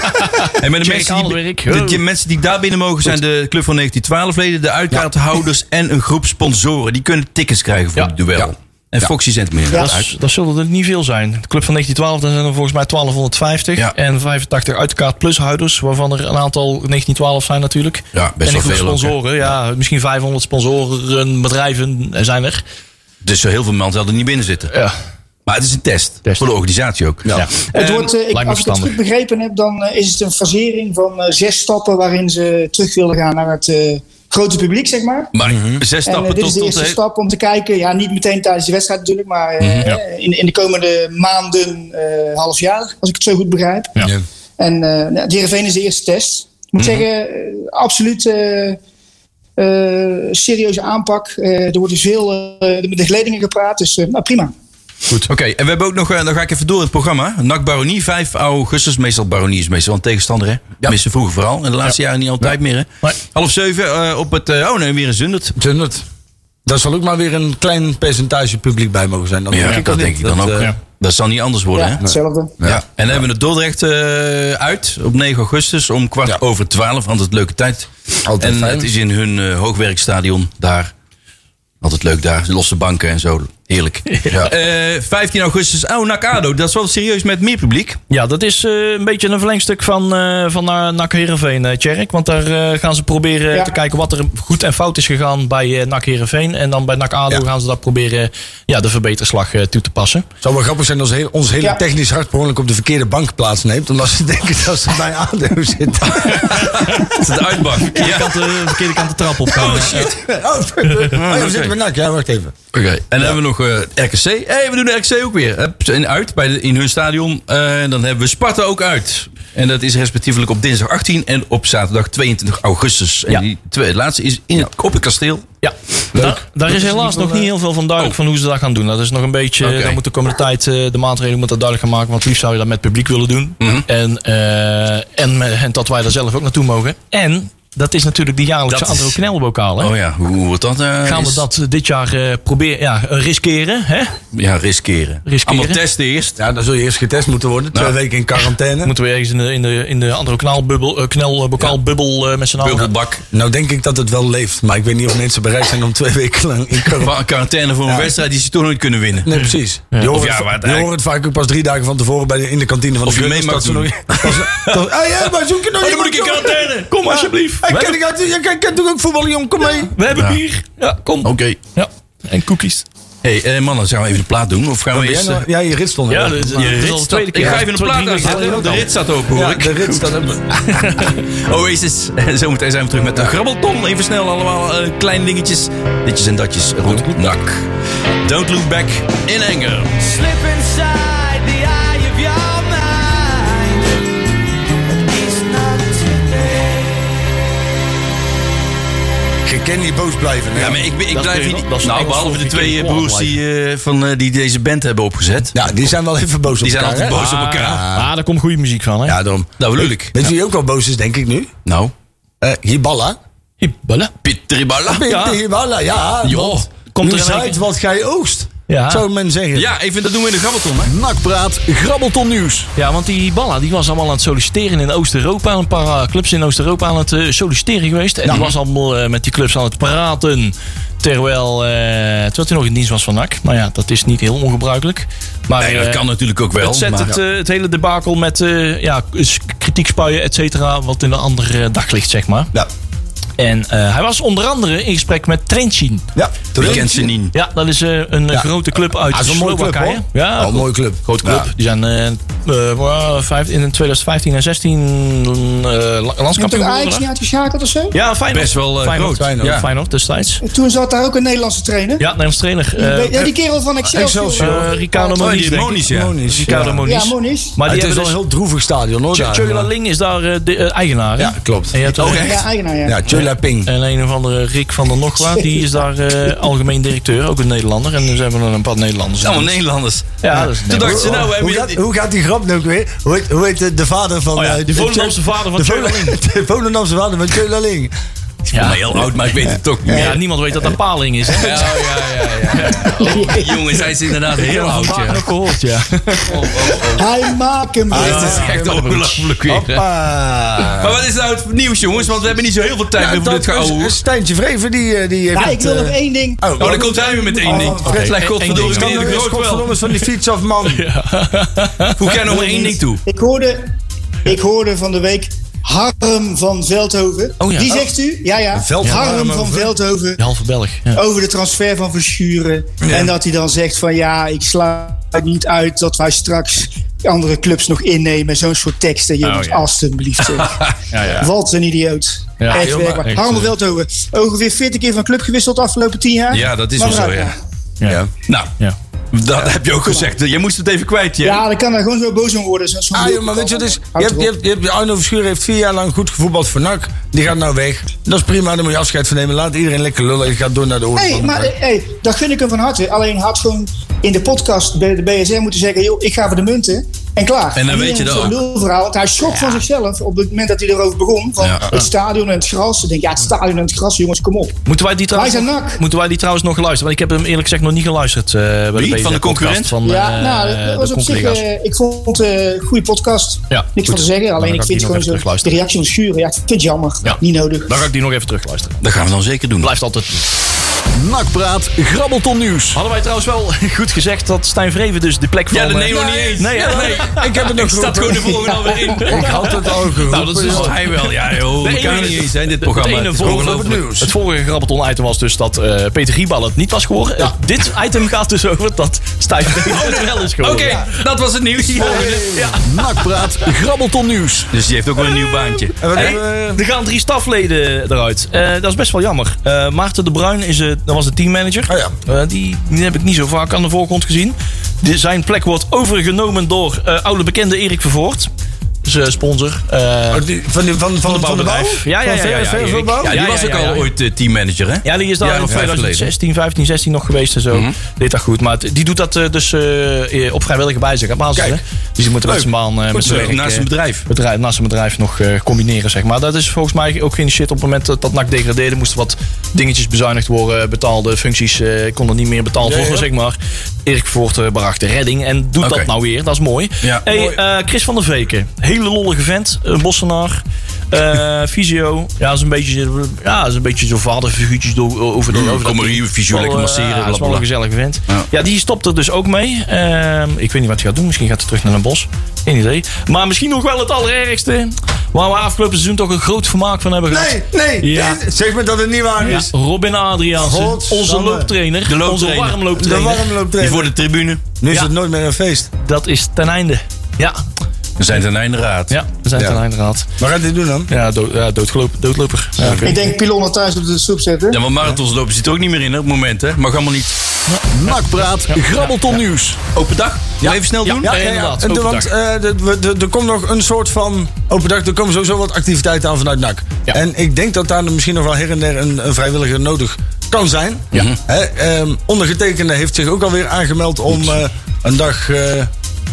En met de
Check
mensen die,
Alderwerk.
de,
Ho.
die mensen die daar binnen mogen zijn de Club van 1912 leden, de uitkaarthouders en een groep sponsoren. Die kunnen tickets krijgen voor
Ja.
het duel. En Foxy zendt meer
Dat, is- dat zullen er niet veel zijn. De club van 1912, daar zijn er volgens mij 1250.
Ja.
En 85 uitkaart plushouders, waarvan er een aantal 1912 zijn natuurlijk.
Ja, best
en een
wel
groep
veel ook, hè.
sponsoren, ja, misschien 500 sponsoren, bedrijven eh, zijn er.
Dus zo heel veel mensen hadden niet binnen zitten.
Ja.
Maar het is een test.
Test.
Voor de organisatie ook.
Ja.
Het wordt, eh,
lijkt me
ik- als ik het
verstandig.
goed begrepen heb, dan eh, is het een fasering van eh, zes stappen waarin ze terug willen gaan naar het eh, grote publiek, zeg maar.
Maar zes
En eh,
stappen
dit is
tot...
de
tot
eerste
de-
stap om te kijken, ja, niet meteen tijdens de wedstrijd natuurlijk, maar eh, in, in de komende maanden, eh, half jaar, als ik het zo goed begrijp.
Ja.
Ja.
En eh nou, Heerenveen is de eerste test. Ik moet zeggen, eh, absoluut eh, eh, serieuze aanpak. Eh, er wordt dus veel eh, met de geledingen gepraat, dus eh, nou, prima.
Goed. Oké, en we hebben ook nog, eh, dan ga ik even door het programma. NAC Baronie, 5 augustus. Meestal Baronie is meestal een tegenstander, hè? Tenminste, vroeger vooral. En de laatste jaren niet altijd meer, hè?
Nee.
Half zeven eh, op het... eh, oh nee, weer in Zundert.
Zundert. Daar zal ook maar weer een klein percentage publiek bij mogen zijn. Dan
Ja,
denk ik
dat denk
niet.
ik dan ook,
eh,
ja.
Dat zal niet anders worden,
Ja,
hè?
hetzelfde.
Ja. En dan hebben we het Dordrecht eh, uit op 9 augustus om kwart
Ja.
over 12. Altijd leuke tijd.
Altijd
en
fijn.
het is in hun eh, hoogwerkstadion daar. Altijd leuk daar. Losse banken en zo. Heerlijk.
Ja.
Eh, 15 augustus. Oh, Nakado. Dat is wel serieus met meer publiek.
Ja, dat is eh, een beetje een verlengstuk van, eh van eh, NAC Heerenveen, eh Tjerk. Want daar eh, gaan ze proberen
Ja.
te kijken wat er goed en fout is gegaan bij eh NAC Heerenveen. En dan bij NAC ADO
Ja.
gaan ze dat proberen ja, de verbeterslag eh, toe te passen.
Het zou wel grappig zijn als heel, ons hele
Ja.
technisch hart per ongeluk op de verkeerde bank plaatsneemt. Omdat ze denken dat ze bij ADO zitten.
Het is de uitbak.
Ja.
Ja.
Kant, eh, de verkeerde kant de trap op gaan.
Oh, we zitten bij NAC. Ja, wacht even.
Oké. En dan hebben we nog eh, RKC. Hé, hey, we doen de RKC ook weer. Hup, En uit bij de- in hun stadion. Eh, en dan hebben we Sparta ook uit. En dat is respectievelijk op dinsdag 18 en op zaterdag 22 augustus. En
Ja.
die twee, laatste is in het, op het kasteel.
Ja, Da- daar is helaas nog niet heel veel van oh. duidelijk van hoe ze dat gaan doen. Dat is nog een beetje,
Oké.
daar moet de komende tijd eh, de maatregelen moet dat duidelijk gaan maken. Want het liefst zou je dat met publiek willen doen. En, eh, en, me- en dat wij daar zelf ook naartoe mogen. En dat is natuurlijk de jaarlijkse
Dat is-
Andro Knelbokaal. hè?
Oh ja, hoe hoe wordt dat? eh,
Gaan we
is-
dat eh, dit jaar eh, proberen, ja, eh, riskeren? Hè?
Ja, riskeren.
Riskeren.
Allemaal testen eerst. Nou,
Ja, dan zul je eerst getest moeten worden. Twee
Ja.
weken in quarantaine.
Moeten we ergens in de, in de, in de andere knalbubbel, eh, knelbokaalbubbel eh, met z'n allen?
Bubbelbak.
Nou denk ik dat het wel leeft. Maar ik weet niet of mensen bereid zijn om twee weken lang in quarantaine...
Qua- Quarantaine voor een
Ja.
wedstrijd die ze toch nooit kunnen winnen.
Nee, precies. Je hoort,
Of ja,
het,
wat
va- je
eigenlijk-
hoort het vaak ook pas drie dagen van tevoren bij de, in de kantine van
Of
de
je
Gunners
mee mag
dat ze
doen. Oh,
nog- dat ze- dat- Hé, hé, maar zoek je nog
dan moet ik in quarantaine.
Kom alsjeblieft. Ik ken, ik, uit- ik ken- ik ken toch ook voetballen, jong. Kom mee.
We hebben
Ja. Oh.
bier. Ja, kom.
Oké.
Ja. En cookies.
hey, eh, mannen, gaan we even de plaat doen? Of gaan we
Jij
eerst... eh, dus,
nou- Ja, je rit stond
Ja,
er.
dit, dit
Maar-
is al de
Rit
tweede
staat-
keer.
Ik ga even een
Twee,
plaat
drie weken
uitzetten.
geleden
De
ook al.
rit staat open, hoor
Ja,
ik.
de rit staat er.
Oasis. En zometeen zijn we terug met de grabbelton. Even snel allemaal eh, kleine dingetjes. Ditjes en datjes. Rond nak. Don't look back in anger.
slip inside the eye of your mind. At least not today.
Je kan niet boos blijven. hè?
eh, Ja, maar ik, ik
Dat
blijf
kun je-
hier...
dat is
Nou,
Engels
behalve
voor
de
je
twee
kind
eh, broers
blijven.
die, eh, van, eh, die deze band hebben opgezet.
Ja, die zijn wel even boos op
Die zijn
elkaar,
altijd
hè?
boos op elkaar.
Ah, daar komt goede muziek van, hè?
Ja, daarom.
Nou, bedoel ik.
Weet je wie ook wel boos is, denk ik nu?
Nou,
Eh Hiballa.
Hibbelen.
Pieter Riballa.
Ja. Hiballa, ja.
Joh,
Oh.
want
komt
nu
er in één
zaait
keer-
wat gij oogst.
Ja.
Zou men zeggen.
Ja, even dat doen we in de grabbelton, hè.
Nakpraat, grabbelton nieuws.
Ja, want die Balla die was allemaal aan het solliciteren in Oost-Europa. Een paar eh, clubs in Oost-Europa aan het eh, solliciteren geweest. En die was allemaal eh, met die clubs aan het praten. Terwijl, eh, terwijl hij nog in dienst was van NAC. Nou ja, dat is niet heel ongebruikelijk. Maar,
Nee, dat
eh,
kan natuurlijk ook wel.
Het zet
maar-
het, eh, het hele debakel met eh, ja, s- kritiek spuien, et cetera, wat in een ander eh, daglicht, zeg maar.
Ja.
En eh, hij was onder andere in gesprek met Trenchin.
Ja.
Je kent ze niet.
Ja, dat is eh, een eh, grote club uit
Ah, is een mooie club,
Slowakije.
hoor.
ja,
Oh, een mooie club.
Ah, Grote club. Die zijn eh, eh, waar, vijf- in 2015 en 16 eh, la-
Heb
landskampioen
toch Ajax
geworden.
niet
hè?
uitgeschakeld of zo?
Ja, Feyenoord.
Best wel, eh,
Feyenoord.
groot.
Feyenoord.
Ja.
Feyenoord destijds.
Toen zat daar ook een Nederlandse trainer.
Ja, Nederlands trainer.
Die
eh,
be- ja, die kerel van Excelsior.
eh, Ricardo
Oh,
Moniz.
die
denk ik.
Moniz, ja.
Moniz,
Ricardo
ja. Ah,
Moniz.
Ja, Moniz.
Maar die
het is
hebben
wel
dus-
een heel droevig stadion hoor. daar.
Chula Ling is daar eh, de eh, eigenaar. hè?
Ja, klopt.
En je hebt ook
Oké.
Ja, eigenaar, Ah, ja.
Ja, Chula Ping.
En een of andere Rick van der Nogwa, die is daar eh, algemeen directeur, ook een Nederlander. En dus hebben we een paar Nederlanders.
Allemaal Nederlanders.
Ja, dus- dat is
Toen dachten ze, nou, we
Hoe
hebben...
gaat, hoe gaat die grap nou ook weer? Hoe heet, hoe heet de, de vader van...
Oh ja,
eh,
de
Tjö-
Volendamse vader van
de
Tjöla
Vol- De Volendamse vader van Chula Ling.
Ja, maar heel oud, maar ik weet het toch niet.
Ja,
meer.
niemand weet dat dat Paling is. Hè?
Ja, ja, ja, ja. Oh, jongens, hij is inderdaad heel oud,
Van Baarle
ja.
ook gehoord, ja.
Hij maakt hem
Dit
weer.
Ah, is dus echt ongelooflijk weer, hè.
Hoppa.
Maar wat is nou het nieuws, jongens? Want we hebben niet zo heel veel tijd meer voor dit gehouden.
Stijntje Vreven die, eh, die heeft...
Ja, ik wil nog
eh,
één ding.
Oh,
Oh, dan komt hij weer met één ding.
Oh, Fred,
Fred, leg godverdomme,
Eén
Kan
meneer
nou
de
eens
Groot wel.
godverdomme van die fiets af, man.
Hoe kan je nog maar één ding toe?
Ik hoorde, ik hoorde van de week Harm van Veldhoven.
Oh ja.
Die zegt u, ja ja,
Veldhoven.
Harm van
Over.
Veldhoven
De halve Belg. Ja.
over de transfer van Verschuren. En dat hij dan zegt van ja, ik sla het niet uit dat wij straks andere clubs nog innemen. Zo'n soort teksten, jongens,
ja.
alstublieft. zeg. Wat een idioot.
Ja,
echt
jongen,
werkbaar.
echt,
Harm van
eh.
Veldhoven, ongeveer 40 keer van club gewisseld de afgelopen 10 jaar.
Ja, dat is
Maar
wel zo,
vooruit,
ja. Nou,
Ja.
dat heb je ook gezegd. Jij moest het even kwijt, Jerry.
Ja, dan kan daar gewoon zo boos om worden. Zo- zo'n
Ah, joh,
lul-
maar weet je wat het is?
Houd
Je hebt, je
erop.
hebt, je hebt, Arno Verschuren heeft vier jaar lang goed gevoetbald voor NAC. Die gaat nou weg. Dat is prima, daar moet je afscheid van nemen. Laat iedereen lekker lullen. Je gaat door naar de oorlog.
Hey, maar hey, dat gun ik hem van harte. Alleen had gewoon in de podcast bij de BSR moeten zeggen: joh, ik ga voor de munten. En klaar.
En dan weet je
iedereen
dat
heeft Zo'n lulverhaal. Want hij schrok van zichzelf op het moment dat hij erover begon. Van
Ja.
het stadion en het gras. Ik denk, ja, het stadion en het gras, jongens, kom op.
Moeten wij die trouwens,
Wij zijn nak.
moeten wij die trouwens nog luisteren? Want ik heb hem eerlijk gezegd nog niet geluisterd. eh, bij
Wie?
BZ
Van de concurrent?
podcast Van,
Ja,
eh,
nou, dat
de
was op zich.
collega's.
eh, ik vond het eh, een goede podcast.
Ja,
Niks
goed.
van te zeggen.
Dan
Alleen
ga
ik
ik
vind
die nog
gewoon
even
zo.
terugluisteren.
De reactie van Schuren. Ja, ik vind het jammer.
Ja.
Niet nodig.
Dan ga ik die nog even terugluisteren.
Dat gaan we dan zeker doen.
Blijft altijd.
Nakpraat, grabbelton nieuws.
Hadden wij trouwens wel goed gezegd dat Stijn Vreven dus de plek van...
Ja, dat
eh,
nemen we niet eens.
Nee, hè?
nee.
Ik heb het nog
Ik staat gewoon de volgende alweer in.
Ik had het al geroepen.
Nou, dat is
joh.
hij wel. Ja, joh.
De
We
ene-
kan niet eens zijn, dit
het
programma.
ene
Het is
volgt op
ongelooflijk.
het nieuws.
Het vorige grabbelton-item was dus dat eh, Peter Giebal het niet was geworden. Eh, dit item gaat dus over dat Stijn Vreven het wel is geworden.
Oké, dat was het nieuws.
Nakpraat, grabbelton nieuws.
Dus die heeft ook wel een nieuw baantje.
En wat
Hey,
hebben we- eh,
er gaan drie stafleden eruit. Eh, dat is best wel jammer. Eh, Maarten de Bruin is, eh, dat was de teammanager.
Oh ja.
Eh, die, die heb ik niet zo vaak aan de voorgrond gezien. De, zijn plek wordt overgenomen door eh, oude bekende Erik Vervoort. Zijn sponsor. eh,
Oh, die- Van die- van- van- van de bouw?
Ja, ja, ja.
Van
ja,
Ver-
ja,
Ver-
Erik.
Verbouw?
Ja, die
Ja,
was
ja,
ook
ja,
al
ja.
ooit eh, teammanager, hè?
Ja, die is
Jaar
daar in
of vijf
2016, 15, 16 nog geweest en zo.
Mhm.
Deed dat goed. Maar het- die doet dat eh, dus eh, eh, op vrijwillige wijze. Gaat basis, hè?
Kijk.
Dus die moeten met zijn baan, eh, met zijn
zo.
werk,
Naast
eh,
zijn bedrijf.
bedrijf- naast zijn bedrijf nog eh, combineren, zeg maar. Dat is volgens mij ook geen shit. Op het moment dat, dat NAC degradeerde, moesten wat dingetjes bezuinigd worden. Betaalde functies eh, konden niet meer betaald
Ja,
worden,
ja.
zeg maar. Erik Voort eh, bracht de redding en doet
Oké.
dat nou weer. Dat is mooi.
Ja,
hey,
mooi.
eh, Chris van der Veken. Hele lollige vent. eh, bossenaar. eh fysio. Ja, is een beetje, ja, is een beetje zo'n vaderfiguurtje door- over de
Ja,
over
Mm, kom maar
dat-
hier, fysio,
wel,
lekker
eh,
masseren,
ja, dat is wel
blablabla.
een gezellige vent.
Ja.
Ja. die stopt er dus ook mee. Ehm, ik weet niet wat hij gaat doen. Misschien gaat hij terug naar een bos. Geen idee. Maar misschien nog wel het allerergste. Waar we afgelopen seizoen toch een groot vermaak van hebben gehad.
Nee, nee.
Ja.
nee, Zeg maar dat het niet waar
Ja,
is.
Robin Adriaanse,
Godsamme.
onze looptrainer,
De
onze
looptrainer.
De
warmlooptrainer.
Die voor
warmlooptrainer.
de tribune.
Nu is
Ja.
het nooit meer een feest.
Dat is ten einde. Ja,
We zijn ten einde raad.
ja we zijn
Ja.
ten einde gehad.
Wat gaat dit doen dan?
Ja, dood, ja doodgeloop- doodloper. Ja, oké.
Ik denk pilon thuis op de stoep zetten.
Ja, want marathons lopen zit er ook niet meer in hè, op het moment, hè? Mag allemaal niet.
Nakpraat, grabbelton nieuws.
Open dag? Ja. Even snel
Ja.
doen?
Ja. inderdaad,
En,
open
want
dag.
eh, de- we- de- er komt nog een soort van open dag. Er komen sowieso wat activiteiten aan vanuit NAC.
Ja.
En ik denk dat daar misschien nog wel her en der een, een vrijwilliger nodig kan zijn.
Ja.
Hè, ehm, ondergetekende heeft zich ook alweer aangemeld om eh, een dag... eh,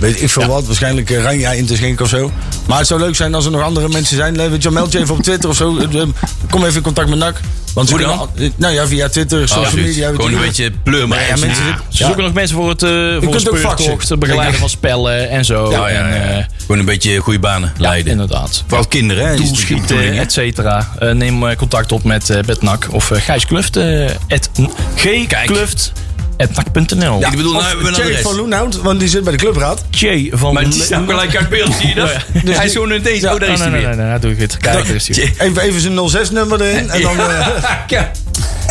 Weet ik veel wat, waarschijnlijk eh, Ranja in te schenken of zo. Maar het zou leuk zijn als er nog andere mensen zijn. Eh, Weet je, wel, meld je even op Twitter of zo. Eh, eh, Kom even in contact met NAC. Want ze
Hoe dan?
kunnen al- eh, Nou ja, via Twitter,
Oh,
social
zoiets.
media. weet
Gewoon
je
een
wel.
beetje pleuren. Maar
Ja,
ergens
mensen
na.
zitten-
Ze zoeken nog mensen voor het, eh voor
kunt
het
ook vak
speurtocht,
zitten.
het begeleiden van spellen en zo.
Ah, Ja, ja, ja.
En, eh,
Gewoon een beetje goede banen
ja,
leiden.
inderdaad.
Vooral kinderen, hè? is natuurlijk de bedoeling,
Doelschieten,
hè?
et cetera. Eh, neem eh, contact op met eh Betnak of eh, Gijs Kluft. eh at gkluft. Etnak.nl.
Ik bedoel, nou
Of
hebben we een
Thierry
adres.
van Loenhout, want die zit bij de clubraad.
J van
Maar die
Le-
staat gelijk uit beeld, zie je dat?
Ja.
Hij is gewoon ineens, oh, daar is
Oh, nee,
hij
nee,
weer.
nee, nee, dat doe ik het. Kijk, daar is hij.
Tje.
Even, even zijn 06-nummer erin. En dan, eh,
Ja.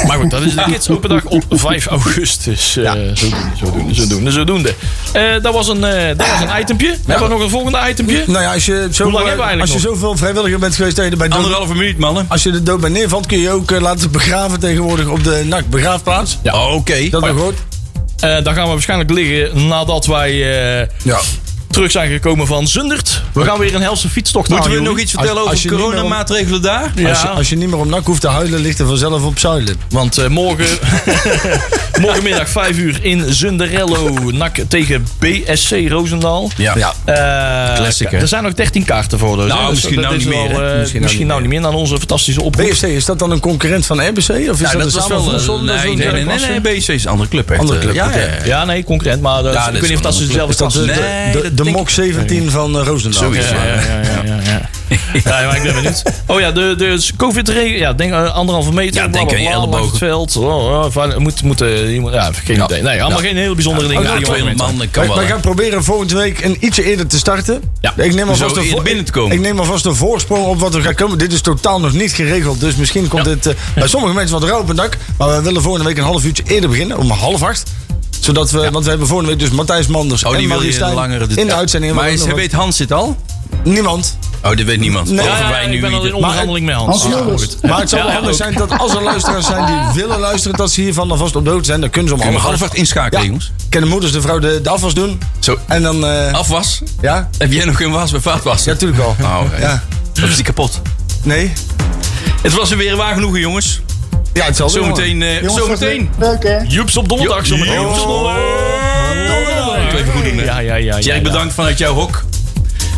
Maar goed, dat is de Kids Open Dag op 5 augustus. Eh, zo doen, zo doen, zo doen, zo doen. Eh, dat, was een, eh, dat was een itempje. Hebben we nog een volgende itempje?
Nou ja, als je, zo,
Hoe lang hebben we eigenlijk
als je
nog?
zoveel vrijwilliger bent geweest dat je er bij dood-
Anderhalve minuut, mannen.
Als je er dood bij neervalt, kun je je ook eh, laten begraven tegenwoordig op de NAC begraafplaats.
Ja. Oh, Oké.
Dat nog hoort.
Eh, dan gaan we waarschijnlijk liggen nadat wij eh,
Ja.
terug zijn gekomen van Zundert. We gaan weer een helse fietstocht
Moeten we
aan,
nog
jullie.
iets vertellen
als
over
je niet meer om-
coronamaatregelen daar?
Ja.
Als, je, als je niet meer om NAC hoeft te huilen, ligt er vanzelf op zuilen.
Want eh, morgen, morgenmiddag 5 uur in Zunderello. NAC tegen BSC Roosendaal.
Ja. ja.
Eh,
Classic, hè?
er zijn nog 13 kaarten voor. Dus,
Nou,
hè, dus
misschien
dat
nou
is
niet meer,
wel,
hè?
eh, misschien, nou niet meer. Dan onze fantastische oproep.
BFC, is dat dan een concurrent van RBC? Of is dat,
dat
een
was wel
samenvoegsel?
een...
Dat is
Nee,
wel
nee, nee,
derde
nee,
klasse?
nee, BC is een andere club. echt. eh.
Andere club,
Ja,
oké.
ja, ja.
Ja, nee, concurrent. Maar dat-
Ja, dat
ik
is
weet niet of dat ze
gewoon
dezelfde
Is
klas
dat de,
zijn.
Nee,
de,
dat
de,
denk ik
MOK 17 van eh, Roosendaal?
Zoiets,
Ja, ja, ja, ja, ja, ja. ja maar ik ben benieuwd. Oh ja, de, de COVID-regel. Ja, denk eh, anderhalve meter.
Ja, denk aan je
blablabla, langs
ellebogen.
Het veld. Oh, oh, van- moet, moet, eh, iemand- ja, Oh, geen idee. Nee, allemaal geen heel bijzondere dingen.
Ja,
die
200
jongen-
man, dat kan
Wij,
wel.
wij
hè.
gaan proberen volgende week een ietsje eerder te starten.
Ja.
Ik neem alvast
Zo
een
eerder
vo-
binnen te komen.
Ik neem alvast een voorsprong op wat er gaat komen. Dit is totaal nog niet geregeld. Dus misschien komt dit eh, bij sommige mensen wat rauw op het dak. Maar we willen volgende week een half uurtje eerder beginnen. Om half acht. Zodat we, Want we hebben volgende week dus Matthijs Manders
Oh, die
en
wil
Marie
je
Stijn
langere...
in de uitzending.
Maar
En we
is-
hebben
weet Hans dit al?
nog wat- Niemand.
Oh, dit weet niemand.
Nee.
Over
Ja, ja,
wij
ja,
nu
ik ben al
ieder-
in onderhandeling met Hans.
Hans Wilders.
Ah, goed.
Maar het zou
Ja,
wel handig
ook.
zijn dat als er luisteraars zijn die willen luisteren... dat ze hiervan alvast op de hoogte zijn. Dan kunnen ze om
Kunnen we
half
half
acht.
acht inschakelen, jongens?
Kunnen moeders de vrouw de, de afwas doen.
Zo. Oh.
En dan... eh,
Afwas?
ja?
Heb jij nog geen was bij vaatwassen?
Ja, tuurlijk wel.
Oh, oké.
Ja.
Dat is die kapot.
Nee?
Het was er weer waar genoegen, jongens.
Ja, hetzelfde. jongen.
Zometeen. eh,
Jongens, dat was
Zometeen.
Leuk hè?
Joeps op donderdag.
Jo-
zometeen.
Joeps op donderdag. Ik wil even goed doen, hè.
ja, ja, ja.
Jerk,
ja.
bedankt vanuit jouw hok.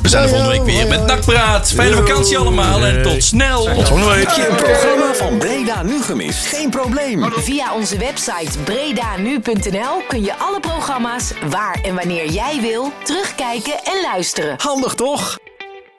We zijn er volgende week weer met Nakpraat. Fijne vakantie allemaal en tot snel. Tot volgende week.
Een programma van Breda nu gemist. Geen probleem.
Via onze website bredanu.nl kun je alle programma's waar en wanneer jij wil terugkijken en luisteren.
Handig toch?